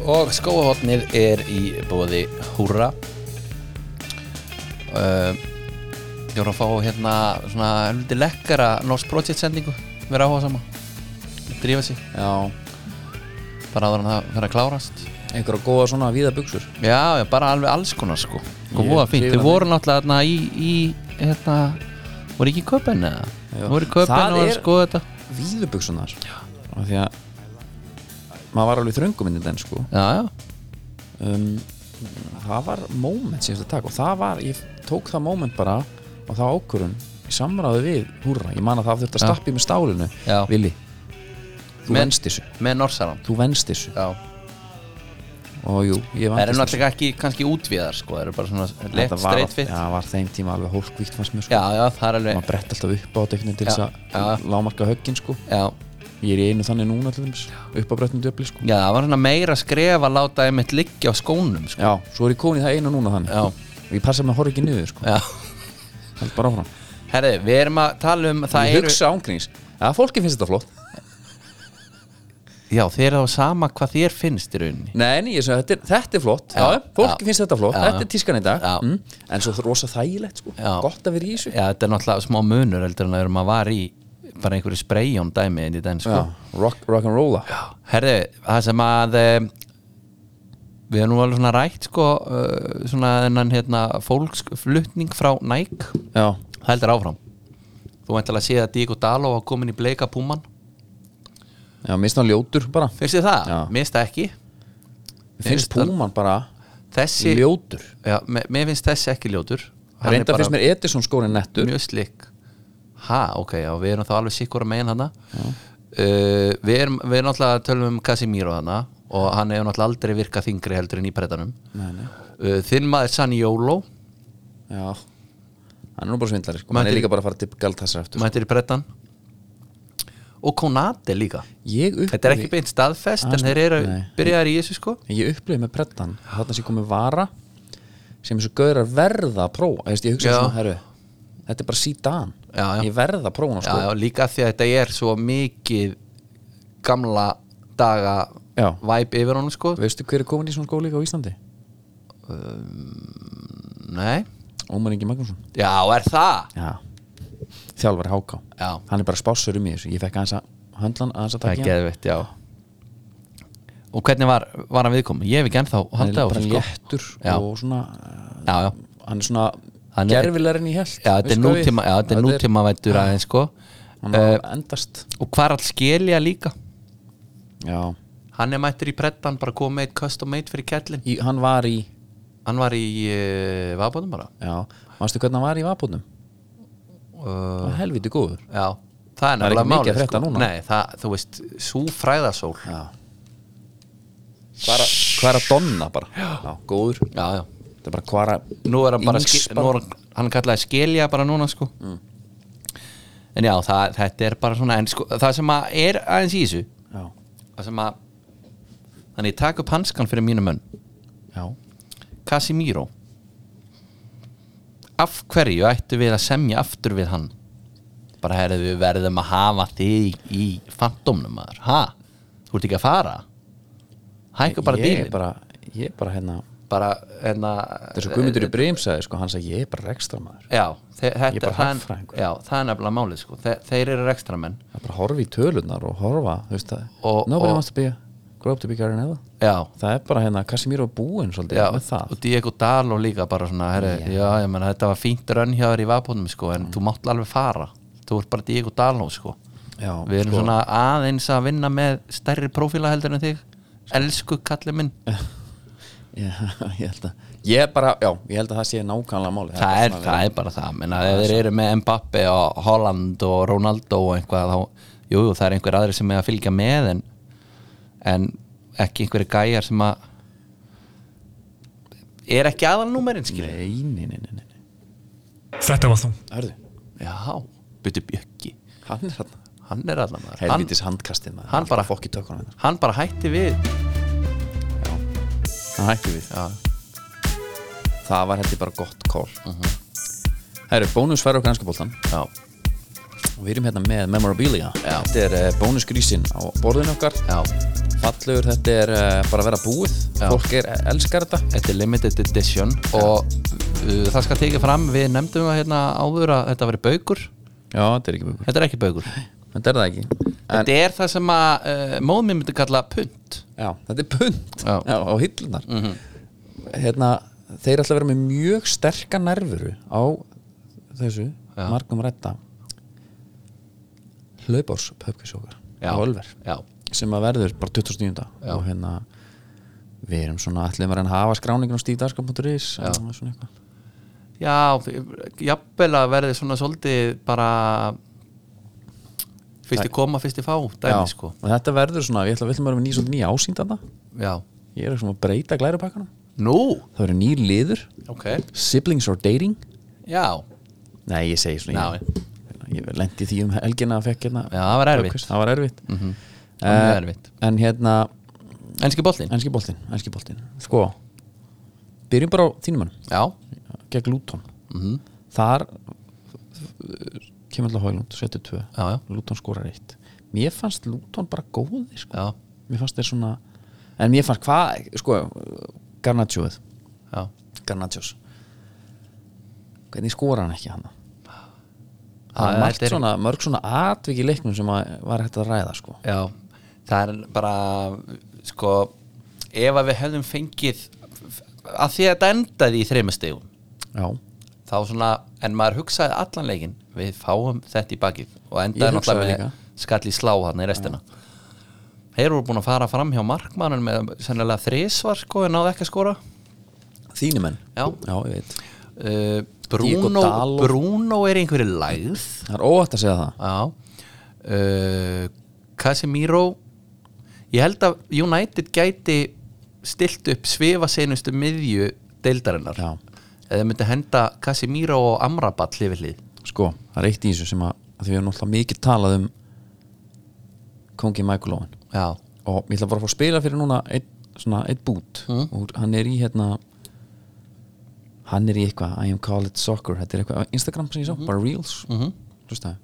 Speaker 1: og skóahotnið er í bóði Húra uh, Ég voru að fá hérna svona helviti lekkara Norse Project sendingu vera áhuga sama drífa sig
Speaker 3: já,
Speaker 1: bara áður en það fer að klárast
Speaker 3: einhverja góða svona víða buksur
Speaker 1: já, já, bara alveg alls konar sko og
Speaker 3: Ég
Speaker 1: voða fínt,
Speaker 3: hrifin af
Speaker 1: þau voru náttúrulega þarna í, í hérna, voru ekki í köpen eða
Speaker 3: Jú.
Speaker 1: Þau voru í köpen
Speaker 3: Það
Speaker 1: og voru
Speaker 3: er-
Speaker 1: að skoða þetta
Speaker 3: víðu buksunar af því að maður var alveg þröngum inn í den sko
Speaker 1: já, já,
Speaker 3: um, það var moment sem þetta takk og það var, ég tók það moment bara og það ákvörun í samráði við húrra, ég man að það þurfti að
Speaker 1: Já.
Speaker 3: stappa í með stálinu
Speaker 1: Já.
Speaker 3: Vili, þú
Speaker 1: Men-
Speaker 3: venst þessu
Speaker 1: með Norsaran
Speaker 3: þú venst þessu
Speaker 1: já,
Speaker 3: og jú, ég
Speaker 1: það eru
Speaker 3: vandist
Speaker 1: náttúrulega ekki kannski útvíðar sko, það eru bara svona
Speaker 3: þessu.
Speaker 1: lett
Speaker 3: Þetta var,
Speaker 1: straight fit
Speaker 3: já,
Speaker 1: já.
Speaker 3: var þeim tíma alveg hólkvíkt fannst mér sko
Speaker 1: já, það er alveg
Speaker 3: maður brett alltaf upp á teknin til þess
Speaker 1: Já,
Speaker 3: að lámarka höggin sko
Speaker 1: já,
Speaker 3: ég er í einu þannig núna til þess upp á brettnum djöfli sko
Speaker 1: já, það var svona meira skref að láta einmitt liggja á skónum sko.
Speaker 3: já, svo er ég komin í það einu núna þannig
Speaker 1: Já.
Speaker 3: og ég passa með að horfa ekki niður sko
Speaker 1: já,
Speaker 3: held bara áfram
Speaker 1: herri, við erum að tala um það
Speaker 3: ég
Speaker 1: eru,
Speaker 3: hugsa ángríns að fólki finnst þetta flott
Speaker 1: já, þið eru á sama hvað þér finnst í rauninni
Speaker 3: nei, nei, ég segi, þetta, er, þetta er flott já,
Speaker 1: Já,
Speaker 3: fólki
Speaker 1: já.
Speaker 3: finnst þetta flott
Speaker 1: Já,
Speaker 3: þetta er tískan í dag Mm.
Speaker 1: Já.
Speaker 3: en svo það er rosa þægilegt sko
Speaker 1: Já.
Speaker 3: gott að vera í þessu
Speaker 1: já, þetta er náttúrulega smá munur heldur en að maður var í bara einhverju spreyjón dæmi inn í den sko.
Speaker 3: Já, rock, rock and rolla
Speaker 1: herri, það sem að eh, við erum nú alveg svona rætt sko, eh, svona þennan hérna fólksflutning frá Nike
Speaker 3: já,
Speaker 1: það heldur áfram þú væntalega séð að Diego Daló hafa komin í bleika púman
Speaker 3: já minnst hann ljótur bara
Speaker 1: finnst þið það?
Speaker 3: Já.
Speaker 1: minnst það ekki
Speaker 3: Mér finnst
Speaker 1: Finnst hann-
Speaker 3: Púman bara
Speaker 1: þessi,
Speaker 3: ljótur
Speaker 1: já, me- mér finnst þessi ekki ljótur Hann er
Speaker 3: reynda
Speaker 1: bara
Speaker 3: finnst mér Edison skórin nettur
Speaker 1: mjög slikk ha, ok, já, við erum þá alveg sikkur að megin hana uh, við erum við erum náttúrulega að tölum um Casimiro hana og hann hefur náttúrulega aldrei virkað þingri heldur en í brettanum
Speaker 3: Nei, nei.
Speaker 1: uh, þinn maður Sanni Jóló
Speaker 3: já hann er nú bara svindlari sko hann er
Speaker 1: Mætti-
Speaker 3: líka bara að fara til Galtassar eftir sko.
Speaker 1: mættir í brettan og Konate líka
Speaker 3: ég
Speaker 1: þetta er ekki
Speaker 3: upplifði
Speaker 1: beint staðfest
Speaker 3: Aðeins-
Speaker 1: en þeir eru
Speaker 3: nei.
Speaker 1: byrjaðar í þessu sko
Speaker 3: ég upplifði með brettan þarna sé komið vara sem þessu gaurar verða að prófa Eðast, ég hugsa
Speaker 1: Já.
Speaker 3: svona herru þetta er bara sídan
Speaker 1: Já, já.
Speaker 3: ég verða að prófa hana
Speaker 1: já,
Speaker 3: sko
Speaker 1: já, líka því að þetta er svo mikið gamla daga
Speaker 3: Já.
Speaker 1: væp yfir honum sko
Speaker 3: veistu hver er komin í svona skóla líka á Íslandi
Speaker 1: nei,
Speaker 3: Ómar Ingi Magnússon
Speaker 1: já, er það
Speaker 3: já þjálfari háká
Speaker 1: Já.
Speaker 3: hann er bara spássur um í þessu ég fekk aðeins að höndla hann aðeins að
Speaker 1: Það
Speaker 3: taka
Speaker 1: er
Speaker 3: í hann
Speaker 1: geðvitt, já Og hvernig var, var hann viðkomin? Ég hef ekki ennþá
Speaker 3: hann
Speaker 1: haldið á
Speaker 3: er bara
Speaker 1: þessu,
Speaker 3: léttur
Speaker 1: sko. Já.
Speaker 3: og svona eh,
Speaker 1: Já, já,
Speaker 3: hann er svona
Speaker 1: Hann er-
Speaker 3: gerfilegar en ég held
Speaker 1: já þetta er
Speaker 3: veistu hvað við-
Speaker 1: nútíma Já, þetta er nútíma vættur aðeins, sko
Speaker 3: hann er að endast
Speaker 1: Og hvað er alls skilja líka?
Speaker 3: Já,
Speaker 1: Hann er mættur í prettan, bara komið eitt custom made fyrir kettlin
Speaker 3: í, hann var í
Speaker 1: Hann var í uh, vabóðum bara
Speaker 3: Já, mannstu hvernig hann var í vapotnum?
Speaker 1: uh,
Speaker 3: Það var helviti góður
Speaker 1: Já, það er
Speaker 3: Það er ekki
Speaker 1: nefnilega
Speaker 3: mikið að
Speaker 1: málið, sko.
Speaker 3: frétta núna.
Speaker 1: Nei, það, þú veist, sú fræðasól Já,
Speaker 3: Hvar að donna bara Já, góður
Speaker 1: já
Speaker 3: Það er bara hvar að
Speaker 1: Nú er hann bara,
Speaker 3: Ings
Speaker 1: ske, nú er hann, hann kallaði skilja bara núna, sko En já, það, þetta er bara svona En sko, það sem að er aðeins í þessu
Speaker 3: Já,
Speaker 1: það sem að þannig ég taka upp hanskan fyrir mínu mönn
Speaker 3: já,
Speaker 1: Casimiro af hverju ættu við að semja aftur við hann bara herðu við verðum að hafa þig í fantómnum maður, ha? Þú ert ekki að fara hækka bara
Speaker 3: Ég er
Speaker 1: dýrin bara,
Speaker 3: bara, ég er bara hérna
Speaker 1: bara hérna
Speaker 3: Það er svo Guðmundur í Brim sagði sko, hann sagði ég er bara rekstra maður
Speaker 1: já, þe-
Speaker 3: Ég er
Speaker 1: þetta,
Speaker 3: bara
Speaker 1: það,
Speaker 3: hagfræðingur.
Speaker 1: er- já, það er nefnilega málið sko. þe þeir eru rekstramenn
Speaker 3: Það er bara að horfa í tölunar og horfa, þú veist það
Speaker 1: Og-
Speaker 3: Nobody
Speaker 1: og-
Speaker 3: wants to be a, grow up to be Gary Neville
Speaker 1: já,
Speaker 3: Það er bara hérna, Casimiro búinn svolítið
Speaker 1: já,
Speaker 3: með það
Speaker 1: og Diego Dalo líka bara svona herri, já. ég meina þetta var fínt rönn hjá þér í vapónum sko, en þú mátt alveg fara þú ert bara Diego Dalo sko.
Speaker 3: Já,
Speaker 1: við erum svona aðeins að vinna með stærri prófíla heldur en þig elsku kallið minn það,
Speaker 3: Já, ég held að Ég er bara, já, ég held að það sé nákvæmlega máli
Speaker 1: er, það er bara það meina, ef þeir eru með Mbappe og Holland og Ronaldo og einhvað þá, jú, jú, það er einhver aðri sem er að fylgja með en, en ekki einhverju gæjar sem að er ekki aðalnúmerinn skilur
Speaker 3: Nei, nei, nei, nei, nei
Speaker 4: Þetta var þú
Speaker 3: Hörðu,
Speaker 1: já, byrju bjöggi
Speaker 3: hann er hérna
Speaker 1: hann er allan maður hann,
Speaker 3: helvitis handkastið maður
Speaker 1: hann bara-
Speaker 3: fokk í hérna. tökunum hennar
Speaker 1: hann bara hætti við
Speaker 3: hann hætti við
Speaker 1: Já.
Speaker 3: það var heldur bara gott kól uh -huh. herru, bónus færa okkar ennska bóltan
Speaker 1: já,
Speaker 3: og við erum hérna með memorabilia
Speaker 1: Já.
Speaker 3: þetta er uh, bónusgrísin á borðinu okkar
Speaker 1: já,
Speaker 3: fallegur, þetta er uh, bara að vera búið
Speaker 1: Já.
Speaker 3: fólk er, eh, elskar þetta
Speaker 1: þetta er limited edition og uh, það skal tekið fram við nefndum það hérna áður að þetta veri baukur
Speaker 3: já, þetta er ekki búið
Speaker 1: þetta er ekki baukur
Speaker 3: þetta er það ekki
Speaker 1: Þetta er það sem að uh, móðmið myndi kalla punt
Speaker 3: Já, þetta er punt
Speaker 1: Já. Mhm.
Speaker 3: Já, á hillunar hérna, Þeir ætla að vera með mjög sterka nervuru á þessu
Speaker 1: Já.
Speaker 3: margum rætta hlaupárs pöpkisjókar
Speaker 1: Já.
Speaker 3: á Ölver
Speaker 1: Já,
Speaker 3: sem að verður bara 29.
Speaker 1: Já.
Speaker 3: og hérna við erum svona allir maður að hafa skráningin á stífdarskap.is
Speaker 1: Já.
Speaker 3: svona eitthvað
Speaker 1: já jafnvel að verði svona svolítið bara fyrst í koma, fyrst í fá
Speaker 3: Já,
Speaker 1: dæmi sko
Speaker 3: og þetta verður svona, ég ætla að við ætlum að vera með ný, svolítið ný ásýnd að það
Speaker 1: Já,
Speaker 3: ég er svona að breyta glærupakkanum
Speaker 1: nú,
Speaker 3: það verður nýr liður,
Speaker 1: ok
Speaker 3: siblings or dating
Speaker 1: Já,
Speaker 3: Nei, ég segi svona
Speaker 1: Já.
Speaker 3: ég, ég lendi því um helgina að fekk hérna
Speaker 1: Já, það var erfitt. Mhm. Eh,
Speaker 3: Það var erfitt, mm -hmm.
Speaker 1: Það var mjög erfitt.
Speaker 3: En hérna,
Speaker 1: ennski boltinn
Speaker 3: enski boltinn, enski boltinn Sko, byrjum bara á þínum hann
Speaker 1: Já,
Speaker 3: gegn Luton
Speaker 1: Mhm.
Speaker 3: -hmm. Þar uh, kemur alltaf Háilund, 72
Speaker 1: Já, já.
Speaker 3: Luton skorar eitt Mér fannst Luton bara góði sko.
Speaker 1: já,
Speaker 3: Mér fannst þeir svona En mér fannst hvað, sko, Garnachoð
Speaker 1: já
Speaker 3: Garnachos hvernig skora hann ekki hann
Speaker 1: Það
Speaker 3: það
Speaker 1: er-
Speaker 3: er margt
Speaker 1: þetta er-
Speaker 3: svona, mörg svona atvik í leiknum sem að var hægt að ræða sko.
Speaker 1: Já, það er bara sko, ef að við hefðum fengið að því að þetta endaði í þreymur stegum
Speaker 3: já,
Speaker 1: þá svona, en maður hugsaði allan leikinn við fáum þetta í bakið og
Speaker 3: Ég
Speaker 1: endaði
Speaker 3: hugsaði
Speaker 1: náttúrulega með skall í slá hann í restina Þeir eru búin að fara fram hjá markmannum með sennilega þrisvar sko en náðu ekki að skora
Speaker 3: þínu menn
Speaker 1: Já.
Speaker 3: ég veit
Speaker 1: uh,
Speaker 3: Diego
Speaker 1: Bruno,
Speaker 3: Dalo.
Speaker 1: Bruno er einhverju lægð
Speaker 3: það er óvægt að segja það
Speaker 1: Já uh, Casemiro Ég held að United gæti stilt upp svifa seinustu miðju deildarinnar
Speaker 3: Já.
Speaker 1: eða myndi henda Casemiro og Amrabat hlifið hlið
Speaker 3: sko, það er eitt í þessu sem að, að því við erum alltaf mikið talað um kongi Michael Owen
Speaker 1: Já,
Speaker 3: og ég ætla bara að fá að spila fyrir núna eitt, svona eitt bút
Speaker 1: Mm.
Speaker 3: og hann er í hérna hann er í eitthvað I am college soccer, þetta er eitthvað á Instagram sem ég sá, bara reels
Speaker 1: Mhm.
Speaker 3: hlustaði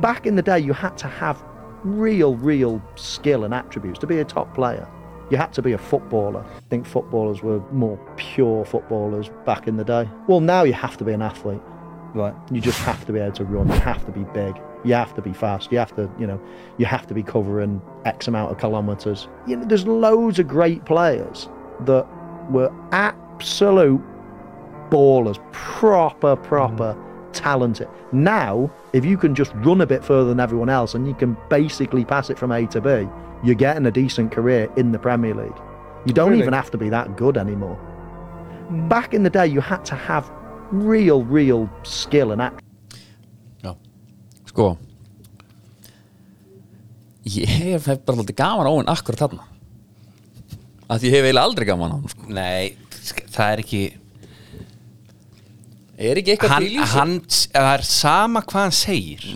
Speaker 5: back in the day, you had to have real, real skill and attributes to be a top player. You had to be a footballer. I think footballers were more pure footballers back in the day. Well, now you have to be an athlete. Right. You just have to be able to run. You have to be big. You have to be fast. You have to, you know, you have to be covering X amount of kilometres. You know, there's loads of great players that were absolute ballers, proper, proper talented. Now, if you can just run a bit further than everyone else and you can basically pass it from A to B, you're getting a decent career in the Premier League. You don't even have to be that good anymore. Back in the day, you had to have real, real skill and act.
Speaker 1: já,
Speaker 3: sko ég hef bara alltaf gaman á hann akkurat þarna að ég hef eiginlega aldrei gaman á hann sko.
Speaker 1: nei sk- það er ekki
Speaker 3: er ekki
Speaker 1: hann,
Speaker 3: til í þessu?
Speaker 1: hann, það er sama hvað hann segir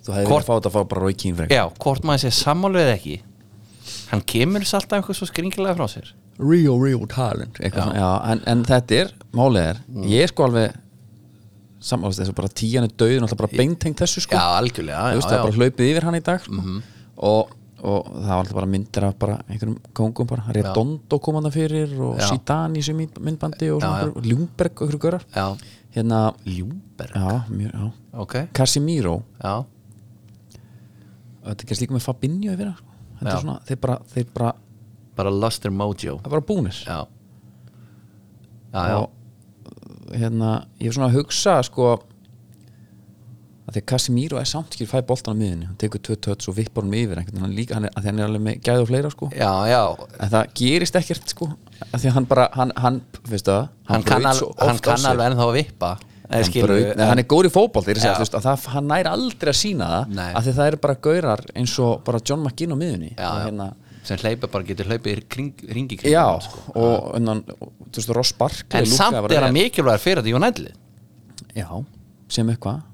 Speaker 3: þú
Speaker 1: Hvort-
Speaker 3: hefði verið að fá þetta að fá bara Rói Kín fyrir
Speaker 1: já, hvort maður sé sammálu eða ekki hann kemur þess alltaf einhver svo skringilega frá sér
Speaker 3: real, real talent já. Já, en, en þetta er, málið er
Speaker 1: Mm.
Speaker 3: ég er sko alveg samanlega þess að bara tíjan er döðin alltaf bara beintengt þessu sko
Speaker 1: algjörlega
Speaker 3: Þú veist, það er bara hlaupið yfir hann í dag sko. og, og það var alltaf bara myndir af bara einhverjum kongum bara Redondo kom hann fyrir og
Speaker 1: Já.
Speaker 3: Zidane í sem myndbandi og,
Speaker 1: Já, já.
Speaker 3: já, og Ljungberg og einhverju görar
Speaker 1: Já.
Speaker 3: hérna,
Speaker 1: Ljúberg,
Speaker 3: já, mjör, já.
Speaker 1: ok
Speaker 3: Casimiro,
Speaker 1: já,
Speaker 3: þetta gerst líka með Fabinho yfir það sko. Þetta
Speaker 1: Já.
Speaker 3: er svona, þeir bara, þeir bara,
Speaker 1: bara lost their mojo
Speaker 3: það er bara búnir
Speaker 1: já já, já,
Speaker 3: og hérna, ég hef svona að hugsa sko að því að Casimiro er samt ekki fæ boltan á miðinni, hann tekur tvö tötts og vippar hann yfir einhvern veginn, hann líka, hann er, að því hann er alveg með gæð og fleira sko
Speaker 1: já, já.
Speaker 3: en það gerist ekkert sko að því að hann bara, hann, hann veist það
Speaker 1: hann, kann,
Speaker 3: braut
Speaker 1: al,
Speaker 3: svo oft
Speaker 1: hann
Speaker 3: á
Speaker 1: kann
Speaker 3: sig.
Speaker 1: alveg ennþá að vippa Nei,
Speaker 3: hann,
Speaker 1: skilur,
Speaker 3: braut, en, hann er góður í fótbolt er að segja,
Speaker 1: Já.
Speaker 3: þú veist, að það, hann nær aldrei að sína það
Speaker 1: Nei.
Speaker 3: að því það eru bara gaurar eins og bara John McGinn á miðunni
Speaker 1: já,
Speaker 3: og,
Speaker 1: já.
Speaker 3: hérna,
Speaker 1: sem hleypa bara getur hlaupið í kring, ringi kring
Speaker 3: já,
Speaker 1: hann, sko.
Speaker 3: og, unnan, og þú veist Ross Barkley
Speaker 1: en samt er hann mikilvægur fyrir þetta United
Speaker 3: já, sem eitthvað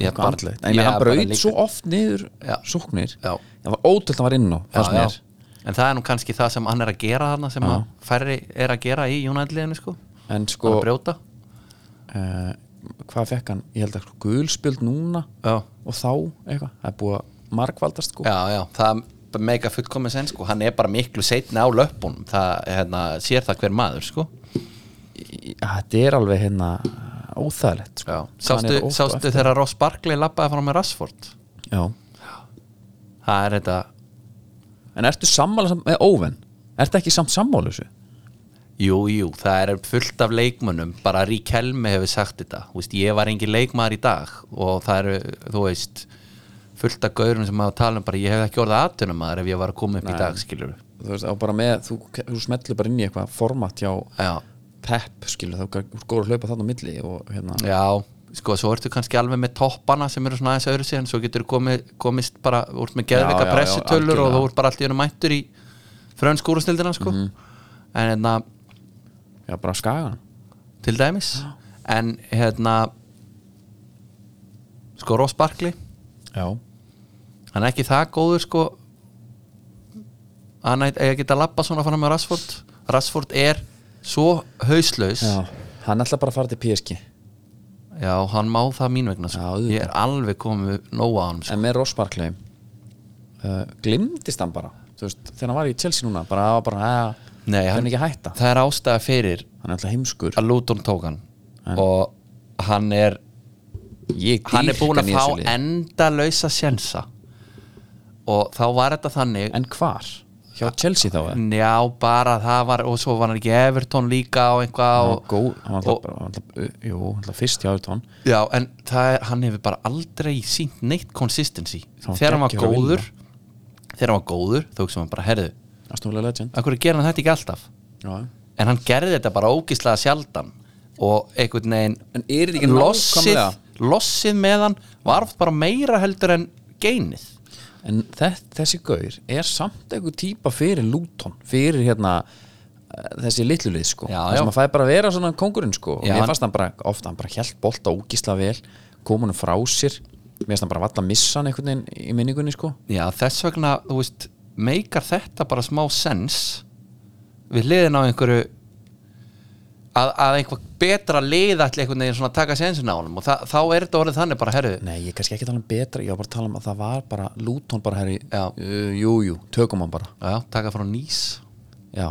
Speaker 1: Ég
Speaker 3: eitthvað
Speaker 1: bara-
Speaker 3: andlegt. en
Speaker 1: ég
Speaker 3: hann
Speaker 1: bara
Speaker 3: braut
Speaker 1: líka-
Speaker 3: svo oft niður
Speaker 1: Já.
Speaker 3: sóknir
Speaker 1: Já.
Speaker 3: það var ótrúlega að hann var inn á fannst
Speaker 1: já,
Speaker 3: mér
Speaker 1: já. en það er nú kannski það sem hann er að gera þarna sem að færri er að gera í United-liðinu sko.
Speaker 3: en
Speaker 1: sko,
Speaker 3: sko,
Speaker 1: að brjóta
Speaker 3: uh, hvað fekk hann ég held að sko, gulspjöld núna
Speaker 1: já,
Speaker 3: og þá eitthvað, það er búið að markvaldast sko.
Speaker 1: já, já. það er mega fullkomis enn sko. hann er bara miklu setna á löpunum það hérna, sér það hver maður sko.
Speaker 3: Í- í- þetta er alveg hérna óþægilegt sko.
Speaker 1: Já.
Speaker 3: Hann er
Speaker 1: Sástu,
Speaker 3: óþægilegt.
Speaker 1: sástu þegar Ross Barkley lappaði frá með Rashford
Speaker 3: Já.
Speaker 1: Það er þetta
Speaker 3: En ertu sammála sam- með Óven? Ertu ekki samt sammála þessu?
Speaker 1: Jú, jú, það er fullt af leikmönnum bara Rík Helmi hefur sagt þetta Þú veist, ég var engin leikmaður í dag og það eru, þú veist fullt af gaurum sem hafa talað um bara ég hef ekki orðið aðtunamaður ef ég var að koma upp í dag skilur
Speaker 3: Þú veist, á bara með, þú, þú smetlu bara inn í eitthvað format hjá
Speaker 1: Já,
Speaker 3: Pep, skilur, þá þú góður að hlaupa þarna á milli og hérna
Speaker 1: já, sko, svo ertu kannski alveg með toppana sem eru svona aðeins öðru sig en svo getur komið, komist bara, þú ert með
Speaker 3: Já, já,
Speaker 1: geðveika
Speaker 3: já,
Speaker 1: pressutölur og
Speaker 3: algjörlega.
Speaker 1: þú ert bara allt í hennu mættur í frönsk úrstildina, sko
Speaker 3: Mhm.
Speaker 1: en hérna,
Speaker 3: Já, bara skagan
Speaker 1: til dæmis en hérna sko Ross Barkley
Speaker 3: Já,
Speaker 1: hann er ekki það góður sko hann er ekki að lappa svona fram með Rashford Rashford er svo hauslaus já.
Speaker 3: Hann ætla bara að fara til PSG
Speaker 1: hann má það mín vegna
Speaker 3: Já,
Speaker 1: sko.
Speaker 3: auðvitað.
Speaker 1: ég er alveg komið nóg á hann sko.
Speaker 3: En með Ross Barkley uh, Glimtist hann bara Þú veist, þegar hann var í Chelsea núna bara, það var bara, að,
Speaker 1: Nei,
Speaker 3: hann
Speaker 1: hann-
Speaker 3: er ekki að hætta
Speaker 1: það er ástæða fyrir
Speaker 3: Hann er alltaf heimskur
Speaker 1: að Luton tók hann og hann er
Speaker 3: Ég
Speaker 1: hann er
Speaker 3: dýrka
Speaker 1: búin
Speaker 3: hann
Speaker 1: að
Speaker 3: í þessu liði.
Speaker 1: fá endalausa sjensa og þá var þetta þannig
Speaker 3: En hvar? Hjá Chelsea þá eða?
Speaker 1: Já, bara það var og svo var hann ekki í Everton líka og eitthvað
Speaker 3: Hann var
Speaker 1: og,
Speaker 3: góð, hann var alltaf,
Speaker 1: og,
Speaker 3: bara- hann var alltaf jú, hann var alltaf fyrst hjá Evertón
Speaker 1: Já, en það er, hann hefur bara aldrei sínt neitt consistency
Speaker 3: Hann var
Speaker 1: þegar hann var
Speaker 3: geggjaður að vinna.
Speaker 1: góður þegar hann var góður, þó sem hann bara herðu
Speaker 3: Astonvilla Legend
Speaker 1: að hverju gerir hann þetta ekki alltaf
Speaker 3: Já.
Speaker 1: en hann gerði þetta bara ógislega sjaldan og einhvern
Speaker 3: En
Speaker 1: veginn
Speaker 3: er þetta ekki
Speaker 1: lossið,
Speaker 3: nákvæmlega
Speaker 1: lossið með hann var oft bara meira heldur en geinið
Speaker 3: En þess, þessi gaur er samt einhver típa fyrir Luton fyrir hérna eh, þessi litlu lið sko
Speaker 1: Já,
Speaker 3: Það
Speaker 1: já.
Speaker 3: sem að fæði bara að vera svona kongurinn sko
Speaker 1: Já,
Speaker 3: Mér
Speaker 1: hann-
Speaker 3: fannst hann bara, ofta hann bara hjælt bolta ógísla vel kom hann frá sér Mér fannst hann bara valla að missa hann einhvern veginn í minningunni sko
Speaker 1: Já, þess vegna, þú veist, meikar þetta bara smá sens við liðin á einhverju að, að einhver betra lið ætli einhvern veginn svona að taka sensin á honum og það, þá er þetta orðið þannig bara, herru
Speaker 3: Nei, ég er kannski ekki að tala um betra, ég var bara að tala um að það var bara Luton bara herri,
Speaker 1: Já.
Speaker 3: uh, jú, jú, tökum hann bara
Speaker 1: Já, taka frá nýs
Speaker 3: Já,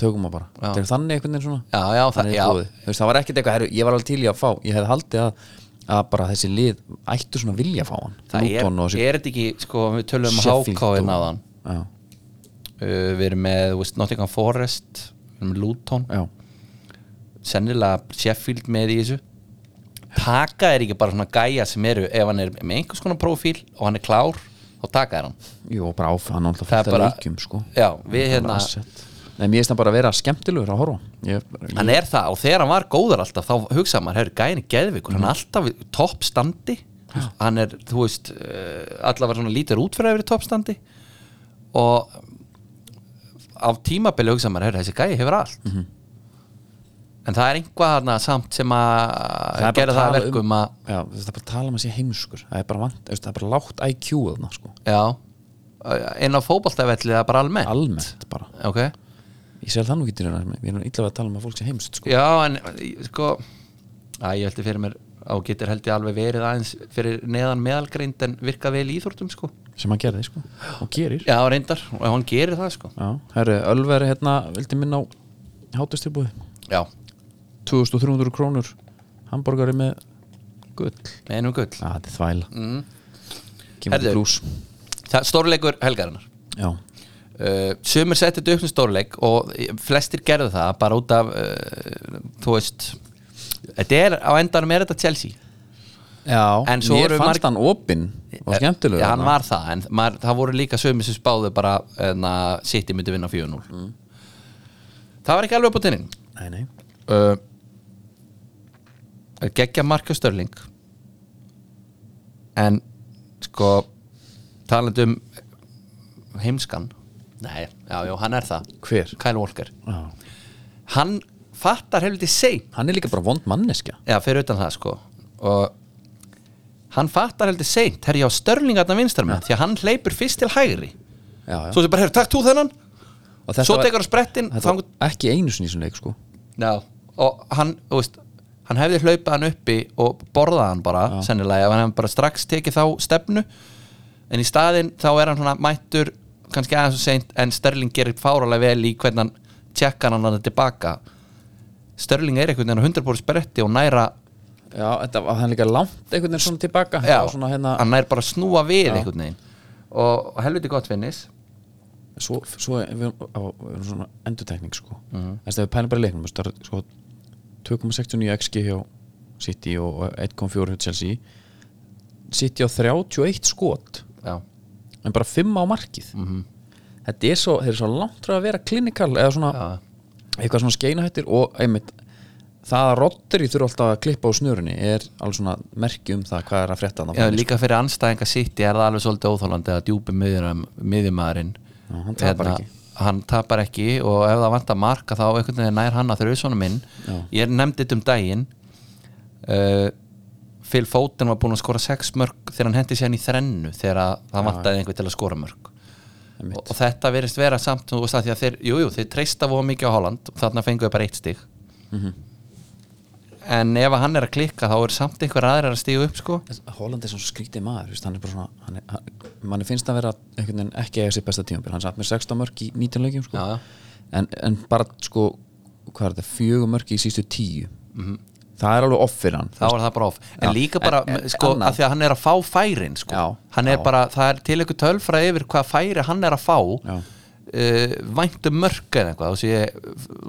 Speaker 3: tökum hann bara
Speaker 1: Já.
Speaker 3: Það er þannig einhvern veginn svona
Speaker 1: Já, já, það,
Speaker 3: Þannig
Speaker 1: já,
Speaker 3: er búið. Þú veist, það var ekkert eitthvað, herru, ég var alveg til í að fá ég hefði haldið að, að bara þessi lið ættu svona að vilja fá hann
Speaker 1: það er,
Speaker 3: Luton og þessi-
Speaker 1: er þetta ekki, sko, við tölum um
Speaker 3: Sheffield
Speaker 1: háká
Speaker 3: og-
Speaker 1: hérna á þann
Speaker 3: já,
Speaker 1: við erum með, þú veist, Nottingham Forest við erum með Luton,
Speaker 3: já,
Speaker 1: sennilega Sheffield með í þessu taka er ekki bara svona gæja sem eru ef hann er með einhvers konar prófíl og hann er klár, þá taka er hann
Speaker 3: jú, og bara áfæðan og alltaf
Speaker 1: Það er
Speaker 3: fullt af
Speaker 1: bara-
Speaker 3: leikjum sko.
Speaker 1: Já, við
Speaker 3: Bara
Speaker 1: hérna
Speaker 3: asset. Nei, mér finnst það bara að vera skemmtilegur að horfa ég,
Speaker 1: Hann er það og þegar hann var góður alltaf þá hugsaði maður, herru, gæðin er geðvikur
Speaker 3: Mm.
Speaker 1: hann er alltaf í toppstandi hann er, þú veist, eh, allavega svona lítur útfyrir yfir í toppstandi og á tímabili hugsaði maður, herru, þessi gæði hefur allt
Speaker 3: Mhm.
Speaker 1: en það er einhvað þarna samt sem
Speaker 3: Það
Speaker 1: að
Speaker 3: er bara
Speaker 1: gera það að
Speaker 3: tala
Speaker 1: verkum
Speaker 3: um-
Speaker 1: að
Speaker 3: já, það er bara að tala um að sé heimskur það er bara, vant, það er bara lágt IQ þarna, sko.
Speaker 1: já, inn á fótboltavelli það er bara almennt
Speaker 3: almennt bara
Speaker 1: ok,
Speaker 3: ég sel það nú ekki til hérna, við erum illa að tala um að fólk sé heimskt sko.
Speaker 1: já, en eh, sko að ég heldur fyrir mér á getur held ég alveg verið aðeins fyrir neðan meðalgreind en virkað vel í íþórtum sko
Speaker 3: sem hann gerði sko. og gerir
Speaker 1: Já, reyndar, og hann gerir það sko
Speaker 3: Já, herru, Ölver hérna vildi minna á hátustilbúði
Speaker 1: Já,
Speaker 3: 2300 krónur hambúrgari með gull
Speaker 1: með einum gull
Speaker 3: Já, þetta er þvæla mm. Kemur
Speaker 1: Herðu.
Speaker 3: til blús
Speaker 1: Það- Stórleikur helgarinnar
Speaker 3: Já,
Speaker 1: uh, Sumir setti þetta upp sem stórleik og e, flestir gerðu það bara út af uh, þú veist Þetta er, á endanum er þetta Chelsea
Speaker 3: Já
Speaker 1: En svo
Speaker 3: mér
Speaker 1: eru
Speaker 3: fannst
Speaker 1: marg-
Speaker 3: hann opinn og skemmtilegur
Speaker 1: Eh, Já, hann
Speaker 3: þarna.
Speaker 1: var það, en maður, það voru líka sumir sem spáðu bara en að City myndi vinna 4-0 Það var ekki alveg upp á tinnin
Speaker 3: Nei, nei
Speaker 1: uh, geggja marka Störling en sko talandi um heimskan nei, já, já, hann er það
Speaker 3: Hver?
Speaker 1: Kyle Walker
Speaker 3: Já.
Speaker 1: hann fattar helviti seint
Speaker 3: Hann er líka bara vond manneskja
Speaker 1: já, fyrir utan það sko og hann fattar heldur seint herri á Störling að það vinstar með því að hann hleypur fyrst til hægri
Speaker 3: Já, já
Speaker 1: svo sem bara, herri, takk þú þennan
Speaker 3: Og þetta
Speaker 1: svo
Speaker 3: var-
Speaker 1: tekur á sprettinn
Speaker 3: Þetta
Speaker 1: þang-
Speaker 3: var ekki einu sinni í svona leik sko
Speaker 1: Já, og hann, þú veist hann hefði hlaupað hann uppi og borðað hann bara, sennilega, ef hann hefði bara strax tekið þá stefnu, en í staðinn þá er hann svona mættur kannski aðeins og seint, en Sterling gerir fáralega vel í hvernig hann tjekkar hann hann tilbaka Störling er einhvern veginn á 100% bretti og næra
Speaker 3: Já, þetta var þannig líka langt einhvern veginn svona tilbaka
Speaker 1: já,
Speaker 3: Það var svona hérna
Speaker 1: hann nær bara að snúa við
Speaker 3: Já.
Speaker 1: einhvern veginn og, og helviti gott finnis
Speaker 3: svo, svo er við, á, við erum svona endurtekning sko
Speaker 1: Mhm.
Speaker 3: mm. þess að við pælum bara í leiknum þú veist, það er, sko, 2,69 XG hjá City og 1,4 hjá Chelsea City á 31 skot
Speaker 1: já,
Speaker 3: en bara 5 á markið
Speaker 1: Mhm.
Speaker 3: -hmm. þetta er svo, þeir eru svo langt frá að vera klinikal eða svona
Speaker 1: já,
Speaker 3: eitthvað svona skeinahættir og einmitt það að Rodri þurfa alltaf að klippa á snurunni er alveg svona merki um það hvað er að frétta þarna
Speaker 1: já,
Speaker 3: frammi,
Speaker 1: líka fyrir anstæðinga sitt er það alveg svolítið óþólandi að djúpi miðjumæðurinn
Speaker 3: Já, hann tapar ekki.
Speaker 1: hann tapar ekki og ef það vantar marka þá einhvern veginn nær hann að þau svona minn
Speaker 3: Já.
Speaker 1: ég nefndi þetta um daginn uh, Phil Foden var búinn að skora 6 mörg þegar hann hendi sér hann í þrennu þegar að það vantaði einhver til að skora mörg
Speaker 3: einmitt.
Speaker 1: og, og þetta verist vera samt og það því að þeir, jú, jú, þeir treysta voða mikið á Holland og þarna fengu þau bara eitt stig
Speaker 3: Mhm.
Speaker 1: en ef að hann er að klikka þá er samt einhver aðrir að stíga upp sko
Speaker 3: Holland er svona skrítið maður þú veist, hann er bara svona hann er, hann, manni finnst að vera einhvern veginn ekki eiga sér besta tímabil hann satt með 16 mörg í 19 leikjum sko.
Speaker 1: Já, já.
Speaker 3: en, en bara sko hvað er þetta, fjögur mörg í sístu 10
Speaker 1: Mhm.
Speaker 3: það er alveg off fyrir hann
Speaker 1: þá er það bara off en
Speaker 3: Já.
Speaker 1: líka bara,
Speaker 3: En- en-
Speaker 1: sko,
Speaker 3: annað-
Speaker 1: að því að hann er að fá færin sko.
Speaker 3: Já.
Speaker 1: hann er
Speaker 3: Já.
Speaker 1: bara, það er til einhver tölfræð yfir hvað færi hann er að fá
Speaker 3: Já.
Speaker 1: uh, væntum mörg eða eitthvað og svo ég,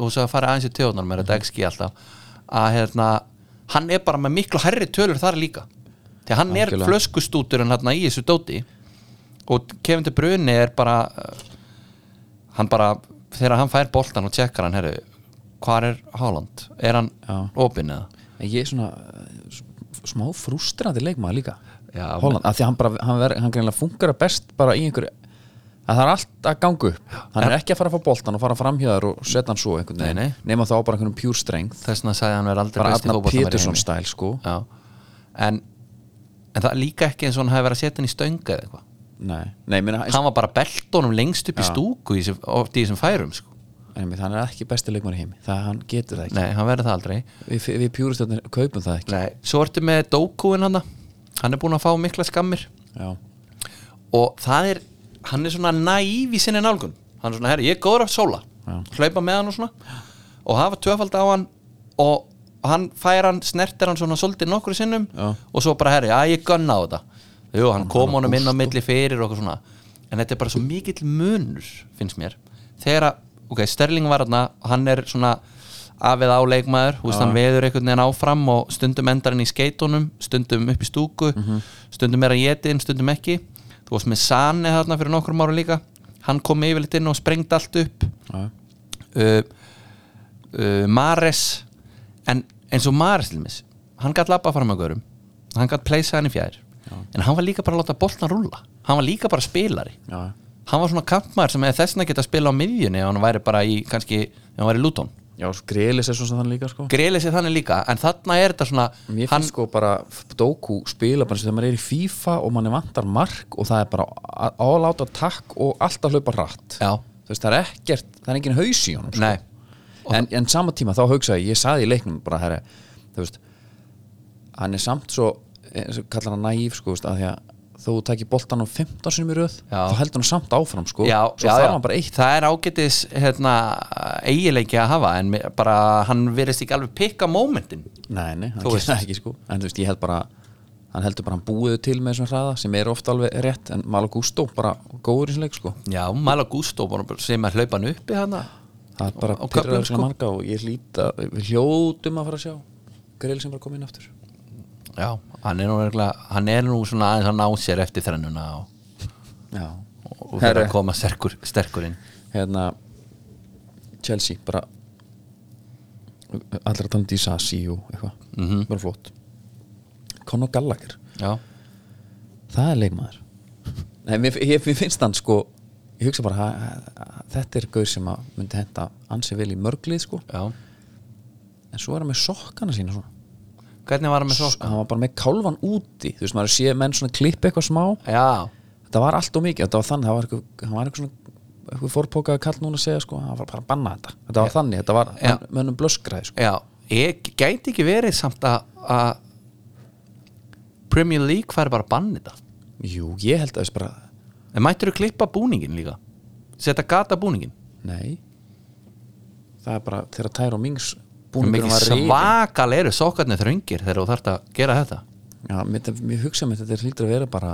Speaker 1: og svo að fara aðeins í tjóðunar með
Speaker 3: Mhm.
Speaker 1: þetta ekki alltaf að hérna, hann er bara með miklu hærri tölur þar líka því að hann
Speaker 3: Algjörlega.
Speaker 1: er flöskustútur en hérna í þessu dóti og Kevin De Bruyne er bara uh, hann bara, þegar hann fær boltan og tjekkar hann, herru, hvar er Haaland? Er hann
Speaker 3: Já.
Speaker 1: opinn eða?
Speaker 3: en ég er svona eh, s- smá frústrandi leikmaður líka
Speaker 1: Já,
Speaker 3: Holland, af því að hann bara hann, ver, hann greinlega funkar best bara í einhverju að það er allt að gangu upp hann er ekki að fara að fá boltan og fara framhjöðar og setja hann svo einhvern veginn
Speaker 1: Nei, nei.
Speaker 3: nema þá bara einhverjum pure strength
Speaker 1: þess vegna sagði hann verið aldrei
Speaker 3: bara
Speaker 1: besti
Speaker 3: Arnar
Speaker 1: fótboltamaður í
Speaker 3: Pétursson
Speaker 1: heimi.
Speaker 3: stæl sko
Speaker 1: Já. en, en það er líka ekki eins og hann hefði verið að setja hann í stönga eða eitthvað
Speaker 3: nei, nei, ég meina,
Speaker 1: hann var bara beltónum lengst upp í stúku í þessu, oft í þessum færum sko.
Speaker 3: Einmitt, hann er ekki besti leikmar í heimi það hann getur það ekki
Speaker 1: nei, hann verið það aldrei
Speaker 3: við, við pjúristjóðnir kaupum það ekki
Speaker 1: nei. svo ertu með Dókúin hann hann er búin að fá mikla skammir
Speaker 3: já,
Speaker 1: og það er, hann er svona næv í sinni nálgun hann er svona, herri, ég er góður af sóla
Speaker 3: Já.
Speaker 1: hlaupa með hann og svona og hafa tvöfald á hann og hann fær hann, snertir hann svona svolítið nokkru sinnum
Speaker 3: Já.
Speaker 1: og svo bara, herri, já, ég gunna á þetta Jú, hann kom honum inn á milli fyrir og eitthvað svona en þetta er bara svo mikill munur finnst mér, þegar að ok, Sterling var hann, hann er svona af eða á leikmaður, þú veist, hann veður einhvern veginn áfram og stundum endar hann í skeitunum stundum upp í stúku stundum er hann getinn, stundum ekki þú veist með Sane þarna fyrir nokkrum ára líka hann kom yfirleitt inn og sprengt allt upp
Speaker 3: já,
Speaker 1: uh, uh, Mares en eins og Mares til mis hann gætt labba fram að görum hann gætt pleysa hann í fjær en hann var líka bara að láta boltan rúlla hann var líka bara spilari
Speaker 3: já,
Speaker 1: hann var svona kampmaður sem hefði þessna geta að spila á miðjunni ef hann væri bara í, kannski, ef hann væri í Luton
Speaker 3: já greiðlis er svona þannig líka sko
Speaker 1: greiðlega sér þannig líka, en þarna er þetta svona
Speaker 3: mér finnst
Speaker 1: hann,
Speaker 3: sko bara Doku spila bara sem þegar maður er í FIFA og manni vantar mark og það er bara a- all out attack og alltaf hlaupa rætt
Speaker 1: já,
Speaker 3: þú veist, það er ekkert, það er engin haus í honum sko.
Speaker 1: nei
Speaker 3: en, en sama tíma þá hugsaði ég, ég saði í leiknum bara herri, þú veist hann er samt svo, eh, eins og kallar hann naíf sko, þú veist, að því að þú takir boltan á 15 sinum í röð,
Speaker 1: Já.
Speaker 3: þá heldur hann samt áfram sko,
Speaker 1: Já,
Speaker 3: svo
Speaker 1: já,
Speaker 3: þarf
Speaker 1: já.
Speaker 3: hann bara eitt
Speaker 1: það er ágætis hérna, eigileiki að hafa en mér- bara hann verðist ekki alveg pikka momentin
Speaker 3: nei, nei, hann
Speaker 1: Þú
Speaker 3: gerir
Speaker 1: veist.
Speaker 3: það ekki sko en þú veist, ég held bara hann heldur bara hann búið til með þessum hraða sem er ofta alveg rétt, en Malo Gusto bara góður í þessum leik sko,
Speaker 1: Já, Mala Gusto bara sem er hlaupan uppi hana
Speaker 3: það er bara
Speaker 1: Á- á köflum,
Speaker 3: pyrraður
Speaker 1: sko.
Speaker 3: svona marga og ég hlýta, við hljótum að fara að sjá grill sem bara kom inn aftur
Speaker 1: Já, hann er nú, regla, hann er nú svona aðeins að ná sér eftir þrennuna og,
Speaker 3: já,
Speaker 1: og fyrir
Speaker 3: Herru.
Speaker 1: að koma sterkur, sterkur inn
Speaker 3: hérna Chelsea bara allir að tala um Disasi og eitthvað
Speaker 1: Mhm.
Speaker 3: bara flott Conor Gallagher,
Speaker 1: Já,
Speaker 3: það er leikmaður Nei, mér, ég, mér finnst hann sko ég hugsa bara að, að, að þetta er gaur sem að myndi henda ansi vel í mörglið sko
Speaker 1: já
Speaker 3: en svo er hann með sokkana sína svona
Speaker 1: Hvernig var hann með sokka?
Speaker 3: hann var bara með kálvan úti þú veist maður sé menn svona klippa eitthvað smá
Speaker 1: Já,
Speaker 3: þetta var allt og mikið, þetta var þannig það var eitthvað, hann var eitthvað svona eitthvað fórpókaði kall núna að segja sko, hann var bara að banna þetta þetta var þannig, þetta var
Speaker 1: Já.
Speaker 3: hann- mönnum blöskraði sko.
Speaker 1: já Ég gæti ekki verið samt að- að Premier League færi bara að banni þetta
Speaker 3: jú, ég held að þess bara
Speaker 1: En mættur þú klippa búningin líka? Setta gata búningin?
Speaker 3: nei það er bara þegar Tyrone Mings búningurinn
Speaker 1: mikið
Speaker 3: var rifinn.
Speaker 1: svakalegri sokkarnir þröngir þegar þú þarft að gera þetta
Speaker 3: Já, mér, mér hugsa mér þetta hlýtur að vera bara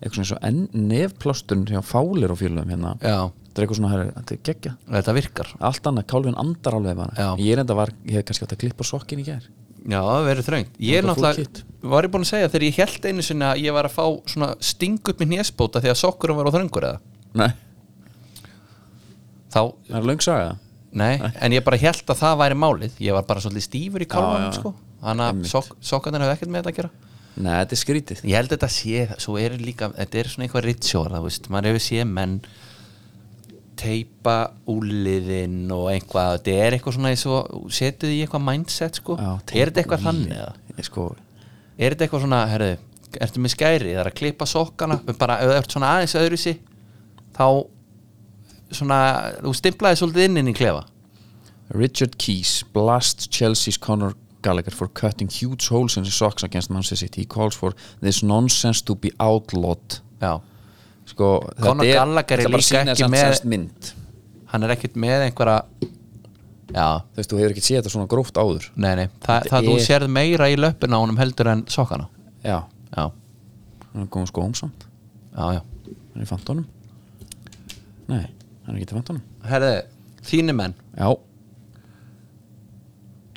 Speaker 3: eitthvað svona eins og enn nefplösturinn hjá fálir og félögum hérna
Speaker 1: Já.
Speaker 3: þetta er eitthvað svona, herri, þetta er geggja
Speaker 1: þetta virkar
Speaker 3: allt annað, kálfin andar alveg bara
Speaker 1: Já.
Speaker 3: ég er enda var, ég hef kannski átt að klippa sokkin í gær
Speaker 1: Já, það verður þröngt Ég er
Speaker 3: Þetta full
Speaker 1: náttúrulega, var ég búin að segja þegar ég held einu sinni að ég var að fá svona sting upp í nésbóta þegar sokkurum var á þröngur eða
Speaker 3: Nei,
Speaker 1: þá,
Speaker 3: það er löng saga
Speaker 1: nei, en ég bara held að það væri málið ég var bara svolítið stífur í
Speaker 3: Já, já,
Speaker 1: kálfanum
Speaker 3: já.
Speaker 1: sko. þannig að
Speaker 3: Einmitt.
Speaker 1: sok, sokkarnir hefur ekkert með þetta að gera
Speaker 3: Nei, þetta er skrítið
Speaker 1: Ég held að þetta sé, svo er líka þetta er svona eitthvað ritual, það veist maður hefur séð menn teipa úliðinn og eitthvað þetta er eitthvað svona eins og setið í eitthvað mindset sko,
Speaker 3: Já,
Speaker 1: er þetta eitthvað þannig eða?
Speaker 3: Ég sko,
Speaker 1: er þetta eitthvað svona, herðu, ertu með skæri það er að klippa sokkana, bara ef það ert svona aðeins öðruvísi þá svona, þú stimplaði svolítið inn inn í klefa
Speaker 3: Richard Keys blasts Chelsea's Conor Gallagher for cutting huge holes in his socks against Manchester City. He calls for this nonsense to be outlawed.
Speaker 1: já,
Speaker 3: Sko,
Speaker 1: Conor
Speaker 3: þetta
Speaker 1: Gallagher er
Speaker 3: þetta bara
Speaker 1: líka
Speaker 3: sýnir
Speaker 1: ekki
Speaker 3: samt
Speaker 1: með-
Speaker 3: semst mynd.
Speaker 1: hann er ekkert með einhverja já,
Speaker 3: Þú veist, þú hefur ekki séð þetta svona gróft áður.
Speaker 1: nei, nei, Þa,
Speaker 3: Þetta
Speaker 1: það þú
Speaker 3: er-
Speaker 1: sérð meira í löppina á honum heldur en sokkana
Speaker 3: Já,
Speaker 1: já,
Speaker 3: hann er góðum skóum samt.
Speaker 1: já, já
Speaker 3: Hann er í fantónum. Nei, hann er ekki í fantónum.
Speaker 1: herðu, þínu menn
Speaker 3: Já.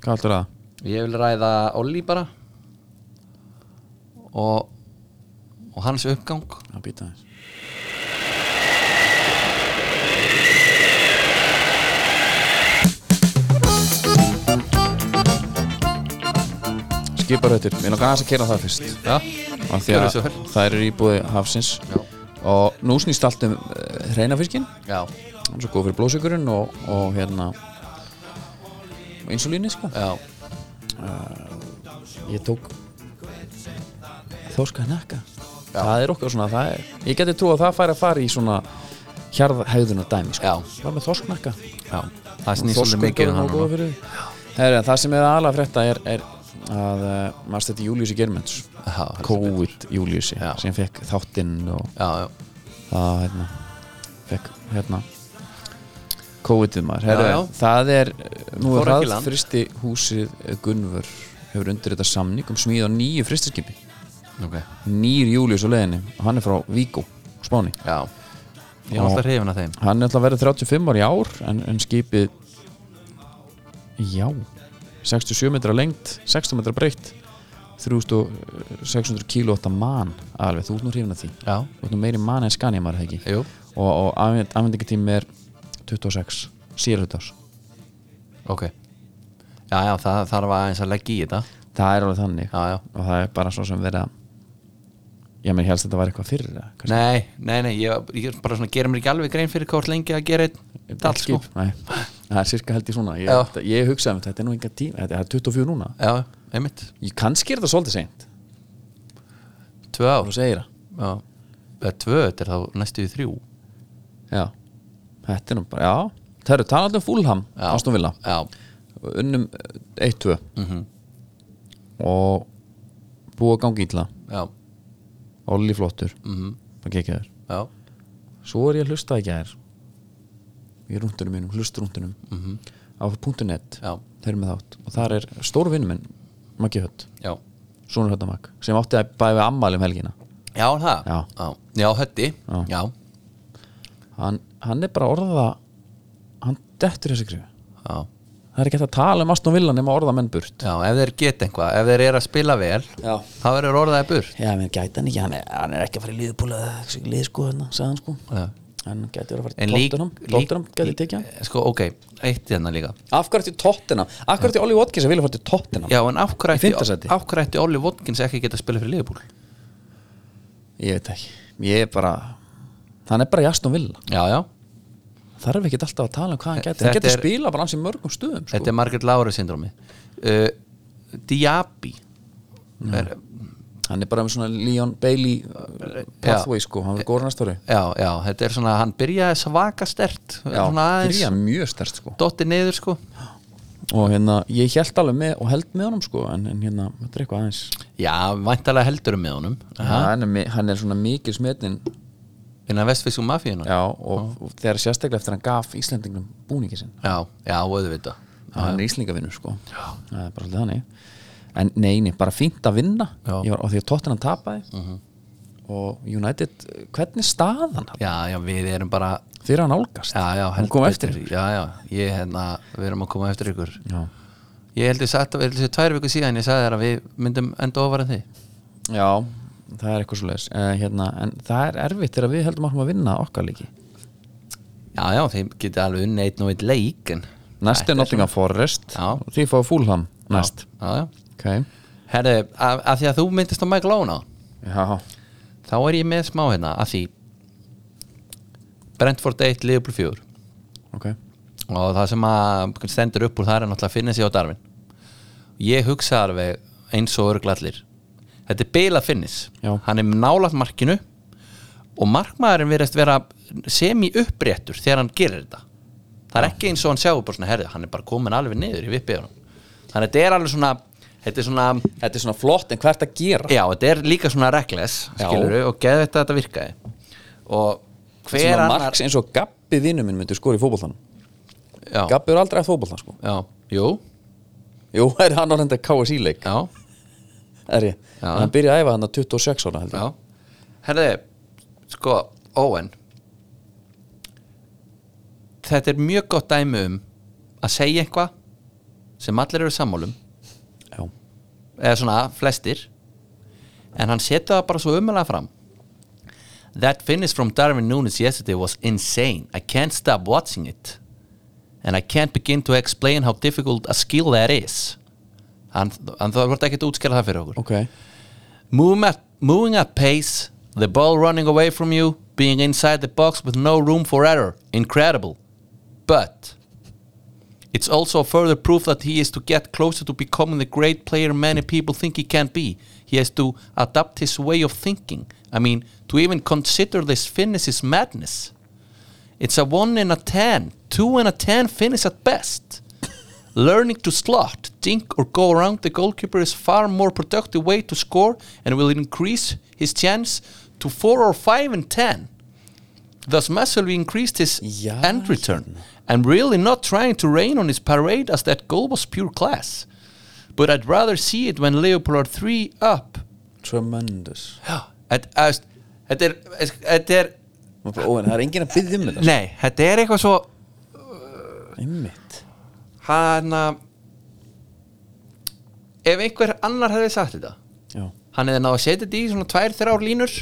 Speaker 3: Hvað heldur það?
Speaker 1: ég vil ræða Olli bara og og hans uppgang
Speaker 3: Já, býta aðeins. Skiparautur, við erum aðeins að kera það fyrst
Speaker 1: já,
Speaker 3: af því
Speaker 1: Gjörðu svo
Speaker 3: að
Speaker 1: vel.
Speaker 3: það eru íbúði hafsins
Speaker 1: Já.
Speaker 3: og nú snýst allt um uh, hreinafiskinn,
Speaker 1: já,
Speaker 3: hann er svo góð fyrir blóðsökurinn og, og hérna og insulíni sko
Speaker 1: já,
Speaker 3: ég tók þorska nakka það er okkar svona, það er ég geti trú að það færi að fara í svona hjarðhæðunar dæmi sko.
Speaker 1: Já.
Speaker 3: var með þorsknakka
Speaker 1: já það snýst svolítið mikið um hann núna.
Speaker 3: Heri, það sem er aðalega að frétta er, er að uh, maður stætti Júliusi Germans
Speaker 1: Já, heldur
Speaker 3: COVID Júliusi
Speaker 1: Já.
Speaker 3: sem fekk þáttinn og
Speaker 1: já, já
Speaker 3: það hérna, fekk hérna COVID-ið maður Heri,
Speaker 1: Já, já.
Speaker 3: það er, uh, nú
Speaker 1: Fór
Speaker 3: er
Speaker 1: ekki í
Speaker 3: það
Speaker 1: land.
Speaker 3: fristi húsið eh, Gunnvör hefur undir þetta samning um smíð á nýju fristiskipi
Speaker 1: okay.
Speaker 3: nýr Július á leiðinni og hann er frá Víkó, Spáni
Speaker 1: Já, ég er alltaf hrifin að þeim
Speaker 3: hann er alltaf verið 35 ári í ár en, en skipið já 67 metra lengt, 60 metra breytt 3600 kíló þetta mann alveg, þú ert nú hrifin að því
Speaker 1: Já,
Speaker 3: þú ert nú meiri mann en skanja maður er það ekki
Speaker 1: jú,
Speaker 3: og, og afvendingatími er 26 síðlutars
Speaker 1: ok Já, já, það þarf aðeins að leggja í þetta
Speaker 3: það er alveg þannig
Speaker 1: Já, já
Speaker 3: og það er bara svo sem verið að ég mér helst að þetta var eitthvað fyrir
Speaker 1: Nei, nei, nei, ég, ég er bara svona gera mér ekki alveg grein fyrir hvort lengi að gera einn dall sko
Speaker 3: Nei, það er cirka held ég svona ég,
Speaker 1: Já.
Speaker 3: þetta- ég hugsaði um þetta, þetta er nú enga tíma þetta er 24 núna,
Speaker 1: Já, einmitt,
Speaker 3: ég kannski er þetta svolítið seint
Speaker 1: tvö
Speaker 3: þú
Speaker 1: ár
Speaker 3: segir það
Speaker 1: Já, eða tvö, þetta er þá næstu í þrjú
Speaker 3: já. þetta er nú bara, já það eru talað um fúlham,
Speaker 1: Já.
Speaker 3: Aston Villa
Speaker 1: Já,
Speaker 3: unnum eh, 1-2
Speaker 1: Mhm.
Speaker 3: og búið að gangi ítla
Speaker 1: já,
Speaker 3: Olli flottur, mm
Speaker 1: Mhm.
Speaker 3: -hmm. það kekjaður
Speaker 1: já,
Speaker 3: svo er ég að hlusta ekki að í rúndunum mínum, hlustrúndunum mm -hmm. á .net,
Speaker 1: Já.
Speaker 3: þeir eru með þátt og þar er stór vinnum minn Maggi Hött,
Speaker 1: já
Speaker 3: Sónur Höttamak sem átti að bæði ammali um helgina
Speaker 1: Já, það
Speaker 3: Já.
Speaker 1: já, já hötti
Speaker 3: Já.
Speaker 1: Já,
Speaker 3: hann, hann er bara að orða hann dettur þessi krifu
Speaker 1: já,
Speaker 3: það er ekki hægt að tala um Aston Villa nema að orða menn burt
Speaker 1: já, ef þeir geta eitthvað, ef þeir eru að spila vel
Speaker 3: Já.
Speaker 1: Það verður orðaði burt
Speaker 3: já, menn gæti hann ekki, hann er, hann er ekki að fara í liðbúla lið sko, hérna, sagði hann sko
Speaker 1: Já.
Speaker 3: hann gæti verið að fara
Speaker 1: En
Speaker 3: í
Speaker 1: lík-
Speaker 3: Tottenham
Speaker 1: lík-
Speaker 3: Tottenham gæti tekið hann
Speaker 1: Sko, ok, eitt hérna líka
Speaker 3: af hverju til Tottenham, af hverju til Ollie Watkins að vilja fara til Tottenham
Speaker 1: Já, en af
Speaker 3: Í
Speaker 1: hverju
Speaker 3: fimmta
Speaker 1: ætti-
Speaker 3: sæti.
Speaker 1: af hverju ætti Olli Watkins ekki geta að spila fyrir Liverpool?
Speaker 3: ég veit ekki, ég er bara hann er bara í Aston Villa
Speaker 1: Já, já, sko.
Speaker 3: þarf ekki alltaf að tala um hvað hann gæti
Speaker 1: Þetta
Speaker 3: hann gæti
Speaker 1: er-
Speaker 3: spila bara hans í mörgum stöðum sko.
Speaker 1: þetta er Margaret Laura syndromi uh, Diaby er,
Speaker 3: hann er bara með svona Leon Bailey uh, pathway sko, hann er góður næstari
Speaker 1: Já, já, þetta er svona, hann byrjaði svaka stert
Speaker 3: já,
Speaker 1: svona aðeins,
Speaker 3: byrja mjög stert sko
Speaker 1: dotti niður sko
Speaker 3: og hérna, ég held alveg með og held með honum sko, en, en hérna, þetta er eitthvað aðeins
Speaker 1: Já, væntalega heldurum með honum
Speaker 3: hann er, mi- hann er svona mikil smetnin
Speaker 1: innan vestfísku mafíuna
Speaker 3: já, og, og þegar sérstaklega eftir hann gaf Íslendingum búningi sinn
Speaker 1: já, já, auðvitað
Speaker 3: hann er íslingavinnur sko það er bara svolítið þannig en neini, bara fínt að vinna
Speaker 1: Já.
Speaker 3: Ég var, og því að tóttina tapaði og United, eh, hvernig staðan
Speaker 1: já, já, við erum bara
Speaker 3: þeir eru að nálgast
Speaker 1: já, já,
Speaker 3: hún kom eftir
Speaker 1: betur. já, já, ég, hérna, við erum að koma eftir ykkur
Speaker 3: já.
Speaker 1: ég heldur satt, við heldur sér tvær viku síðan ég sagði þér að við myndum enda ofar en þið
Speaker 3: já, það er eitthvað svo leis hérna, en það er erfitt þegar við heldum áfram að vinna okkar líki
Speaker 1: já, já, þið getið alveg unni einn og einn leik en
Speaker 3: næst er Nottingham Forest
Speaker 1: Já.
Speaker 3: og því fáið Fúlham næst
Speaker 1: já, já,
Speaker 3: ok,
Speaker 1: herðu, af, af því að þú myndist á Michael Óna
Speaker 3: já,
Speaker 1: þá er ég með smá hérna af því Brentford 1, Liverpool 4
Speaker 3: ok
Speaker 1: og það sem að stendur upp úr þar er náttúrulega að finna sig á darfin ég hugsa alveg eins og örglallir þetta er bila finnis
Speaker 3: Já.
Speaker 1: hann er nálað markinu og markmaðurinn verðist vera semi uppréttur þegar hann gerir þetta það er ekki eins og hann sjáu bara svona herði hann er bara komin alveg niður í vippiðunum þannig að þetta er alveg svona þetta er svona
Speaker 3: þetta er svona flott en hvað er þetta að gera
Speaker 1: já, þetta er líka svona reckless
Speaker 3: Já.
Speaker 1: skilur og geði þetta þetta virkaði og hver
Speaker 3: svona
Speaker 1: annar
Speaker 3: marks eins og Gabbi vinnu minn myndi skora í fótboltan
Speaker 1: já,
Speaker 3: Gabbi er aldrei að fótboltan sko
Speaker 1: já, jú,
Speaker 3: Jú, er hann á reynda KSI leik
Speaker 1: já
Speaker 3: er ég,
Speaker 1: Já.
Speaker 3: en hann byrjaði að æfa hann að 26 ára held ég
Speaker 1: Já, herði sko, Owen þetta er mjög gott dæmi um að segja eitthvað sem allir eru sammálum
Speaker 3: Já.
Speaker 1: eða svona flestir en hann setur það bara svo umjölega fram That finish from Darwin Nunes yesterday was insane I can't stop watching it and I can't begin to explain how difficult a skill that is hann, hann það voru ekkert að útskjala það fyrir okkur
Speaker 3: Ok,
Speaker 1: Moving at, moving at pace, the ball running away from you, being inside the box with no room for error. Incredible. But it's also further proof that he is to get closer to becoming the great player many people think he can be. He has to adapt his way of thinking. I mean, to even consider this finish is madness. It's a 1 in a 10, 2 in a 10 finish at best. Learning to slot, dink, or go around the goalkeeper is far more productive way to score and will increase his chance to 4 or 5 in 10. Thus massively increased his
Speaker 3: Ja,
Speaker 1: end return. I'm really not trying to rain on his parade as that goal was pure class. But I'd rather see it when Leopold are 3 up.
Speaker 3: tremendous
Speaker 1: Þetta þetta- þetta er, þetta er,
Speaker 3: Ó, en það er enginn að byggja um þetta sko.
Speaker 1: nei, þetta er eitthvað svo
Speaker 3: Einmitt
Speaker 1: hann að ef einhver annar hefði sagt þetta
Speaker 3: Já,
Speaker 1: hann hefði náð að setja þetta í svona tvær, þrjár línur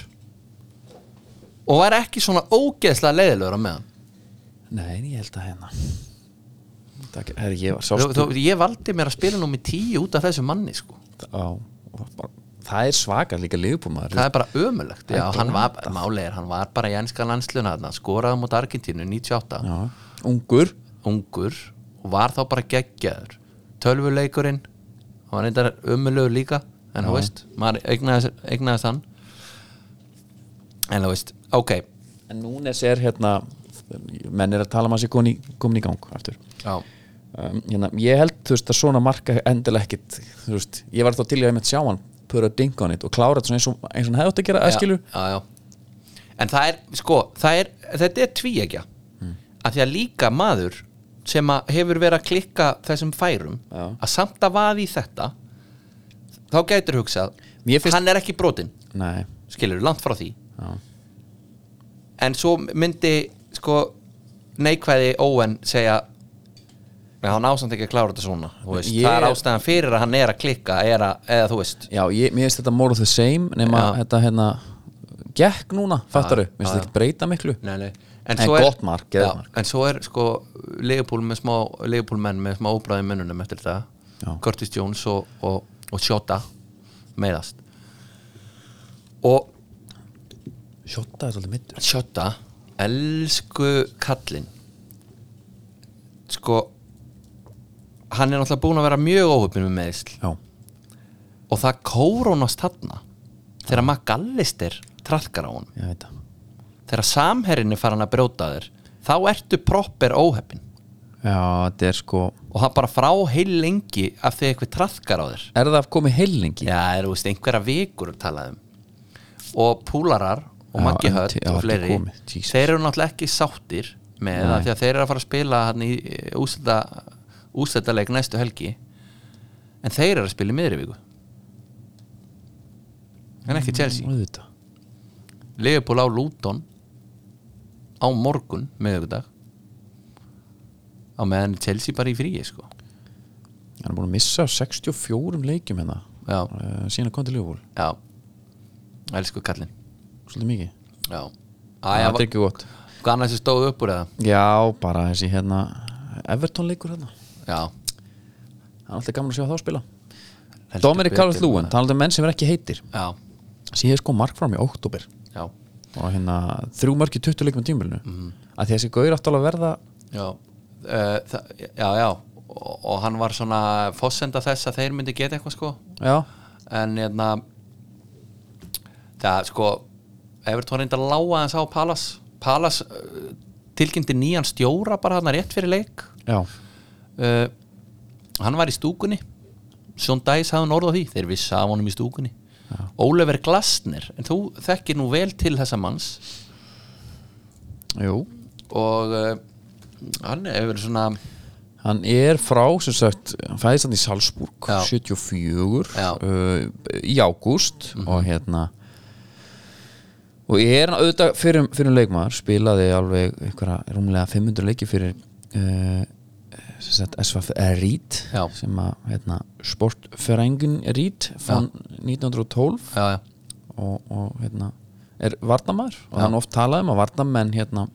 Speaker 1: og var ekki svona ógeðslega leiðilegur á meðan
Speaker 3: nei, ég held að hérna Takk, herri, ég var
Speaker 1: þú,
Speaker 3: sástu
Speaker 1: þú, ég valdi mér að spila númi tíu út af þessu manni sko.
Speaker 3: á, bara, Það er svakar líka liðbúmaður
Speaker 1: það er bara ömulegt Já,
Speaker 3: Það er
Speaker 1: hann var, máli er, hann var bara í ennska landsluna þarna, skoraði mot Argentínu 98
Speaker 3: Já, ungur
Speaker 1: ungur og var þá bara geggjaður tölvuleikurinn hann var reyndar ömulugur líka en þú veist, maður eignaðist, eignaðist hann en þú veist, ok
Speaker 3: En núnes er hérna menn er að tala maður sér komin í, komin í gang aftur
Speaker 1: já,
Speaker 3: um, hérna, ég held þú veist að svona marka endilega ekkit þú veist, ég var þá til í að ég með sjá hann pura ding on it og klára þetta svona eins og, eins og hann hefði átt að gera aðskilu
Speaker 1: já, já, já. en það er, sko, það er þetta er tvíegja
Speaker 3: Mm.
Speaker 1: af því að líka maður sem að hefur verið að klikka þessum færum
Speaker 3: Já.
Speaker 1: að samt að vaði í þetta þá gætur hugsað
Speaker 3: Mér finnst-
Speaker 1: hann er ekki brotinn
Speaker 3: nei,
Speaker 1: skilur, langt frá því
Speaker 3: Já.
Speaker 1: en svo myndi sko neikvæði Owen segja "Nei, hann ásamt ekki að klára þetta svona þú veist,
Speaker 3: Ég-
Speaker 1: það er ástæðan fyrir að hann er að klikka er að, eða þú veist
Speaker 3: já, ég, mér finnst þetta more of the same nema
Speaker 1: Já.
Speaker 3: þetta hérna gekk núna, fattaru, mér finnst
Speaker 1: já,
Speaker 3: þetta ekki breyta miklu
Speaker 1: nei, nei.
Speaker 3: En
Speaker 1: svo er-
Speaker 3: gott mark, geðið
Speaker 1: Já,
Speaker 3: mark.
Speaker 1: en svo er sko legupúl með smá legupúlmenn með smá óbræði mönnunum eftir
Speaker 3: Já.
Speaker 1: þetta Curtis Jones og, og, og Shota meðast og
Speaker 3: Sjóta er svolítið mittur
Speaker 1: Sjötta Elsku kallinn Sko Hann er náttúrulega búinn að vera mjög óhupin með meðsl
Speaker 3: já,
Speaker 1: Og það kórónast þarna Þegar McAllister trallkar á hann
Speaker 3: ég veit það
Speaker 1: Þegar samherrin er farin að brjóta þér Þá ertu proper óhupin
Speaker 3: já, þetta er sko,
Speaker 1: Og það bara frá heil lengi Af því eitthvað trallkar á þér
Speaker 3: er það komið heilingi
Speaker 1: Já, er þú veist, einhverja vikur talaðum Og púlarar og
Speaker 3: Já,
Speaker 1: Maggi
Speaker 3: en
Speaker 1: Hött
Speaker 3: til- já,
Speaker 1: og
Speaker 3: þetta er
Speaker 1: fleiri
Speaker 3: komið, Jesus.
Speaker 1: Þeir eru náttúrulega ekki sáttir með
Speaker 3: Nei.
Speaker 1: það því að þeir eru að fara að spila hann í úslita ústættaleik eh, næstu helgi en þeir eru að spila í miðri viku en ekki Chelsea
Speaker 3: Auðvitað.
Speaker 1: Liverpool á Luton á morgun miðvikudag á meðan er Chelsea bara í fríi sko
Speaker 3: hann er búin að missa af 64 leikjum hérna
Speaker 1: já,
Speaker 3: uh, síðan að koma til Liverpool
Speaker 1: já elsku kallinn
Speaker 3: svolítið mikið
Speaker 1: já,
Speaker 3: það
Speaker 1: Æja,
Speaker 3: er ekki gott
Speaker 1: hvað annars er stóð upp úr eða
Speaker 3: já, bara þessi hérna Everton leikur hérna
Speaker 1: já,
Speaker 3: það er alltaf gaman að sjá þá spila
Speaker 1: heldur
Speaker 3: Dominic
Speaker 1: betur.
Speaker 3: Calvert-Lewin, það er alltaf um menn sem er ekki heitir
Speaker 1: já,
Speaker 3: síðan sko mark fram í oktober
Speaker 1: já,
Speaker 3: og hérna þrjú mörg í 20 leikum tímbilinu
Speaker 1: Mhm.
Speaker 3: mm. að þessi gauður átt alveg að verða
Speaker 1: já uh, það, já, já og, og hann var svona fossenda þess að þeir myndi geta eitthvað sko
Speaker 3: já,
Speaker 1: en hérna það sko Everton reyndi að lága hans á Palas Palas uh, tilkynnti nýjan stjóra bara hann rétt fyrir leik
Speaker 3: já,
Speaker 1: uh, hann var í stúkunni Sjón Dæs hafði norð á því þeir vissi af honum í stúkunni Ólefur Glasner, en þú þekkir nú vel til þessa manns
Speaker 3: jú
Speaker 1: og uh, hann hefur svona
Speaker 3: Hann er frá, sem sagt, hann fæðist hann í Salzburg,
Speaker 1: Já.
Speaker 3: 74
Speaker 1: Já. Mhm.
Speaker 3: uh, í ágúst og hérna og er hann auðvitað fyrir, fyrir leikmaður, spilaði alveg einhverja rúmlega 500 leiki fyrir uh, sem sagt SVF Rít
Speaker 1: Já.
Speaker 3: sem að hérna, sportfærengun Rít fann 1912
Speaker 1: já, já,
Speaker 3: og, og hérna er varnamaður og hann oft talaði um að varnamenn hérna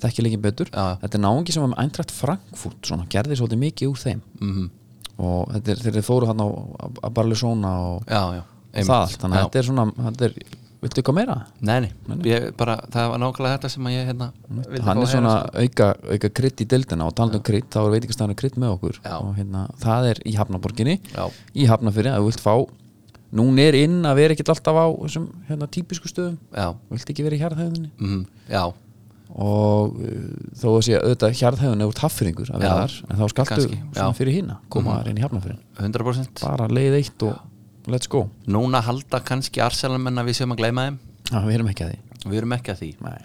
Speaker 3: þekki leikin betur
Speaker 1: Já.
Speaker 3: þetta er náungi sem var með æntrætt Frankfurt svona, gerði svolítið mikið úr þeim -hmm.
Speaker 1: Mhm.
Speaker 3: og þetta er, þeir eru þóru þarna á, á, á Barlesona og,
Speaker 1: já, já
Speaker 3: og það allt þannig að þetta er svona þetta er, viltu eitthvað meira?
Speaker 1: Nei, nei, ég bara, það var nákvæmlega þetta sem að ég hérna vildi fá
Speaker 3: hann er
Speaker 1: að heyra,
Speaker 3: svona
Speaker 1: sko.
Speaker 3: auka, auka krydd í deildina og talandum krydd, þá er veitingastæðan krydd með okkur
Speaker 1: Já.
Speaker 3: og hérna, það er í Hafnaborginni
Speaker 1: Já.
Speaker 3: í Hafnafyrir, að þú vilt fá núna er inn að vera ekkert alltaf á þessum hérna, típisku stöðum,
Speaker 1: Já,
Speaker 3: vilt ekki vera í hjarðhæðinni
Speaker 1: mm, já,
Speaker 3: og uh, þó að sé auðvitað hjarðhæðun eða út haffyrringur að vera
Speaker 1: Já,
Speaker 3: þar en þá skaltu
Speaker 1: kannski,
Speaker 3: svona
Speaker 1: já. Mhm.
Speaker 3: fyrir hína koma þar inn í hafnafyrin
Speaker 1: 100%
Speaker 3: bara leið eitt og let's go
Speaker 1: Núna halda kannski Arsenalmenn að við séum að gleyma þeim
Speaker 3: Já, við erum ekki að því
Speaker 1: Við erum ekki að því
Speaker 3: Nei.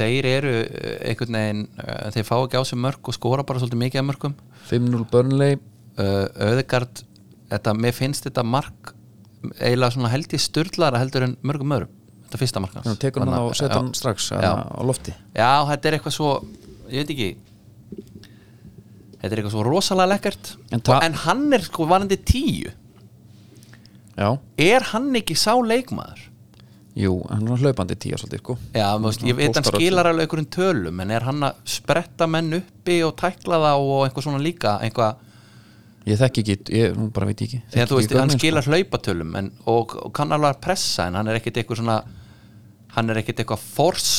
Speaker 1: Þeir eru eh, einhvern veginn eh, Þeir fá ekki á sig mörg og skora bara svolítið mikið af mörgum
Speaker 3: 5-0 Burnley
Speaker 1: uh, Öðegard, þetta, mér finnst þetta mark eiginlega svona held ég styrlara heldur en mörgum öðrum Þetta fyrsta mark
Speaker 3: Nú
Speaker 1: hans
Speaker 3: tekur hann á
Speaker 1: Þarna,
Speaker 3: og setja hann strax
Speaker 1: já, já.
Speaker 3: hérna, á lofti
Speaker 1: Já, þetta er eitthvað svo, ég veit ekki Þetta er eitthvað svo rosalega lekkert
Speaker 3: En
Speaker 1: en,
Speaker 3: ta-
Speaker 1: en hann er sko varandi tíu
Speaker 3: Já,
Speaker 1: Er hann ekki sá leikmaður?
Speaker 3: jú, hann er svona hlaupandi tíja svolítið sko
Speaker 1: Já, veist, ég veit hann
Speaker 3: Póstar öllu.
Speaker 1: skilar alveg einhverjum tölum en er hann að spretta menn uppi og tækla það og eitthvað svona líka eitthvað,
Speaker 3: Ég þekki ekki, ég nú bara veit ég ekki
Speaker 1: þegar
Speaker 3: Þekki
Speaker 1: þú veist,
Speaker 3: ekki
Speaker 1: hann
Speaker 3: gömlu,
Speaker 1: skilar hlaupatölum en, og, og kann alveg að pressa en hann er ekkit eitthvað svona hann er ekkit eitthvað fors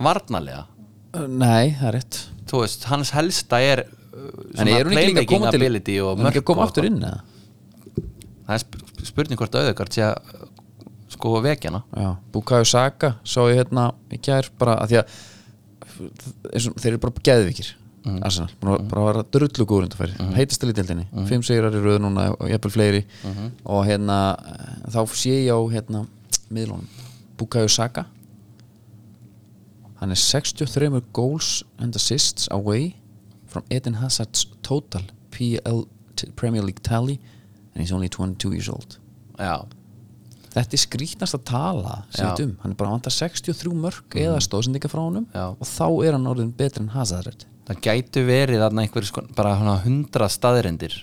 Speaker 1: varnalega
Speaker 3: sko. Nei, það er rétt
Speaker 1: þú veist, hans helsta er uh,
Speaker 3: En
Speaker 1: svona
Speaker 3: er hún ekki líka að
Speaker 1: playmaking
Speaker 3: koma til
Speaker 1: ability
Speaker 3: Er
Speaker 1: og
Speaker 3: hún ekki
Speaker 1: mörk
Speaker 3: að koma
Speaker 1: og
Speaker 3: aftur
Speaker 1: eitthvað.
Speaker 3: inn eða?
Speaker 1: það er sp- spurning hvort auðvitað sé að uh, sko vekja hana
Speaker 3: Já, Bukayo Saka sá ég hérna í kær bara að því að eins og, þeir eru bara geðvikir mm. Arsenal, bara, bara að vera drullu góður undanfæri, mm. heitast til í deildinni, fimm sigrar í röð núna og jafnvel fleiri og hérna eh, þá sé ég á hérna miðlunum, Bukayo Saka hann er 63 goals and assists away from Eden Hazard's total PL t- Premier League tally and he's only 22 years old
Speaker 1: já,
Speaker 3: þetta er skrítnast að tala
Speaker 1: Já.
Speaker 3: um, hann er bara að vanta 63 mörg eða stóðsendinga frá honum
Speaker 1: Já.
Speaker 3: og þá er hann orðin betri en Hazard
Speaker 1: það gætu verið þarna einhverjum sko, bara hundra staðrindir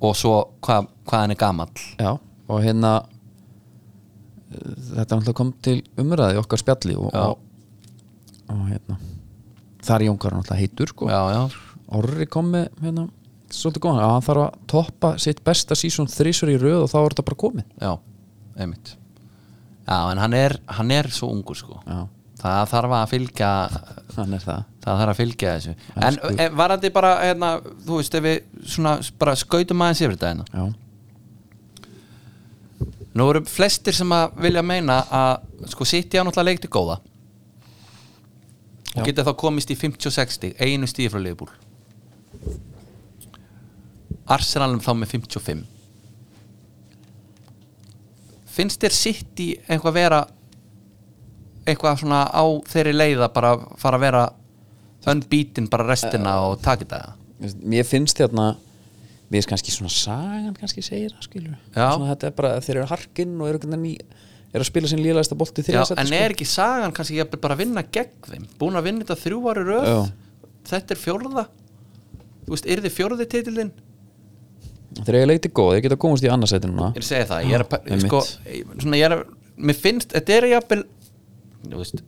Speaker 1: og svo hva, hvað hann er gamall
Speaker 3: Já. og hérna eh, þetta er alltaf kom til umræði í okkar spjalli og,
Speaker 1: Já.
Speaker 3: og, og hérna þar er Jónkar alltaf heitur sko.
Speaker 1: já, já,
Speaker 3: Orri kom með hérna, svolítið góðan að hann þarf að toppa sitt besta sísón þrísur í röð og þá er þetta bara komið
Speaker 1: já, einmitt já, en hann er, hann er svo ungur sko
Speaker 3: Já.
Speaker 1: það þarf að fylgja
Speaker 3: hann er það
Speaker 1: það þarf að fylgja þessu en, en varandi bara, hérna, þú veist ef við svona bara skautum aðeins yfir þetta hérna
Speaker 3: Já.
Speaker 1: Nú eru flestir sem að vilja meina að sko City á náttúrulega leikti góða og geta þá komist í 50-60 einu stíði frá Liverpool Arsenal þá með 55 Finnst þér City eitthvað vera eitthvað svona á þeirri leiða bara fara að vera unbeaten bara restina og taka þetta
Speaker 3: mér finnst þérna mér finnst kannski svona sagan kannski segir það skilur
Speaker 1: Já.
Speaker 3: svona, þetta er bara að þeir eru harkinn og eru, ný, eru að spila sinn lélægasta bolti
Speaker 1: Já,
Speaker 3: þegar
Speaker 1: en er ekki sagan kannski jafnvel bara að vinna gegn þeim búin að vinna þetta þrjú ári röð
Speaker 3: Já.
Speaker 1: þetta er fjórða þú veist, er þið fjórði titillin
Speaker 3: sko. þeir eru leiti góð, þeir geta komast í annarsæti núna
Speaker 1: ég er að segja það, ég er að pæ-
Speaker 3: Einmitt.
Speaker 1: sko, ég- svona, ég er að, mér finnst, þetta er jafnvel þú veist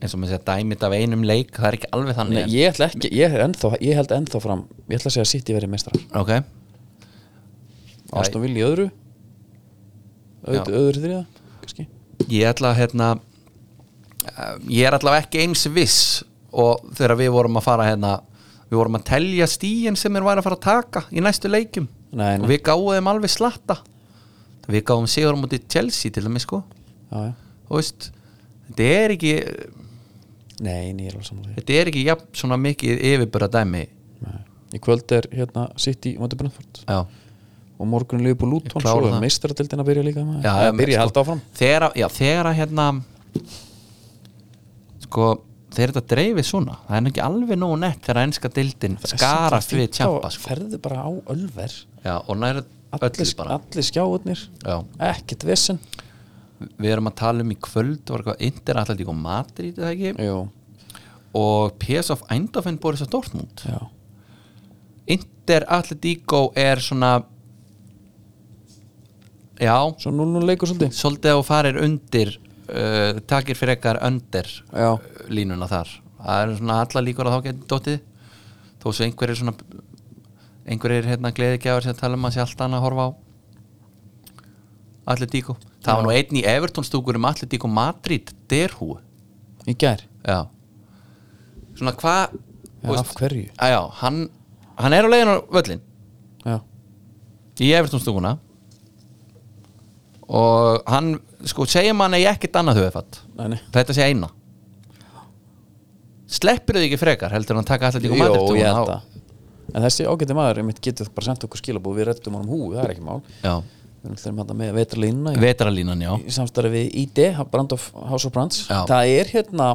Speaker 1: eins og maður segja dæmit af einum leik það er ekki alveg
Speaker 3: Nei,
Speaker 1: þannig
Speaker 3: ég, ætla ekki, ég, er ennþá, ég held ennþá fram ég ætla að segja að City verið mestrar
Speaker 1: ok,
Speaker 3: Aston Villa í öðru öðru, öðru þriða kannski
Speaker 1: ég ætla að hérna eh, ég er allavega ekki eins viss og þegar við vorum að fara hérna við vorum að telja stíin sem þeir væri að fara að taka í næstu leikum
Speaker 3: Nei,
Speaker 1: og
Speaker 3: nei.
Speaker 1: við gáum þeim alveg slatta við gáum sigur á móti Chelsea til þeim sko
Speaker 3: já, já.
Speaker 1: Þú veist, þetta er ekki
Speaker 3: Nei, nei, ég er alveg saman
Speaker 1: þetta er ekki jafn svona mikið yfirbura dæmi
Speaker 3: því í kvöld er hérna City og Brentford
Speaker 1: já,
Speaker 3: og morgun liður
Speaker 1: Ég
Speaker 3: búið Luton
Speaker 1: klára
Speaker 3: svo er
Speaker 1: það.
Speaker 3: meistaradeildin að byrja líka maður.
Speaker 1: já,
Speaker 3: Eða
Speaker 1: em, sko,
Speaker 3: byrja að halda áfram
Speaker 1: þegar að, já, þegar að hérna sko þegar þetta dreifir svona það er nú ekki alveg nógu nett þegar ennska dildin skarast við tjampa sko.
Speaker 3: ferðu bara á ölver
Speaker 1: já, og næra öllu
Speaker 3: allir,
Speaker 1: bara
Speaker 3: allir skjáðunir
Speaker 1: já,
Speaker 3: ekkert vesen
Speaker 1: við erum að tala um í kvöld var eitthvað interatletík og Madrid eða ekki,
Speaker 3: Jú,
Speaker 1: og PSV Eindhoven búið þess að Dortmund
Speaker 3: já,
Speaker 1: interatletíko er svona já,
Speaker 3: svo 0-0 leikur svolítið
Speaker 1: svolítið að þú farir undir uh, takir fyrir ekkar undir
Speaker 3: Já.
Speaker 1: uh, línuna þar það eru svona alla líkur að þá getur dottið þó svo einhverjir svona einhverjir hérna gleðigjafar sem tala um að sé allt annað að horfa á allir díku það var nú einn í Everton stúkur um allir díku Madrid derhú
Speaker 3: í gær,
Speaker 1: já svona hvað
Speaker 3: já, af hverju
Speaker 1: að já, hann, hann er á leiðin á völlin
Speaker 3: já,
Speaker 1: í Everton stúkuna og hann sko segjum hann eigi ekkert annað höfufatt
Speaker 3: nei, nei
Speaker 1: þetta sé eina sleppir þau ekki frekar heldur en að taka alltaf líka
Speaker 3: Jú, ég held
Speaker 1: matur
Speaker 3: það En þessi ágæti maður, einmitt getur bara sendt okkur skilabúð Við rettum honum húi, það er ekki mál Við ætlum þetta með vetralínuna í,
Speaker 1: vetralínan já
Speaker 3: í samstarfi við ID, Brand of House of Brands
Speaker 1: Já.
Speaker 3: Það er hérna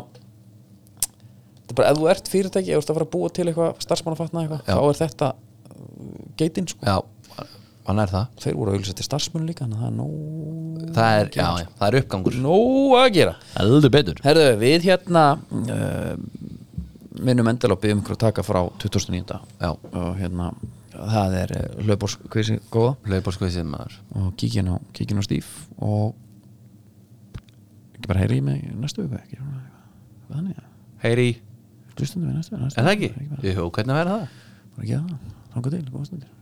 Speaker 3: Það er bara, ef þú ert fyrirtæki Ef þú ert að fara að búa til eitthvað, starfsmannafatna eitthvað
Speaker 1: Já.
Speaker 3: Þá er þetta uh, geitin sko.
Speaker 1: já, hann er það
Speaker 3: Þeir voru að auðvitað til starfsmann líka Þannig að það er nóg,
Speaker 1: það er, já, já, það er uppgangur
Speaker 3: nóg að gera
Speaker 1: heldur betur
Speaker 3: Herðu, við hérna uh, minnum endala og byggjum ykkur að taka frá 2009
Speaker 1: Já.
Speaker 3: og hérna það er hlauporskvísi góða
Speaker 1: hlaupórskvísið maður
Speaker 3: og kíkin á, kíkin á stíf og ekki bara heyri í mig í næstu viku ekki svona eitthvað þannig að
Speaker 1: heyri,
Speaker 3: hlustundum við næstu viku
Speaker 1: er það ekki?
Speaker 3: bara,
Speaker 1: jú, hvernig verður það?
Speaker 3: bara ekki það, þangu til, góða stundir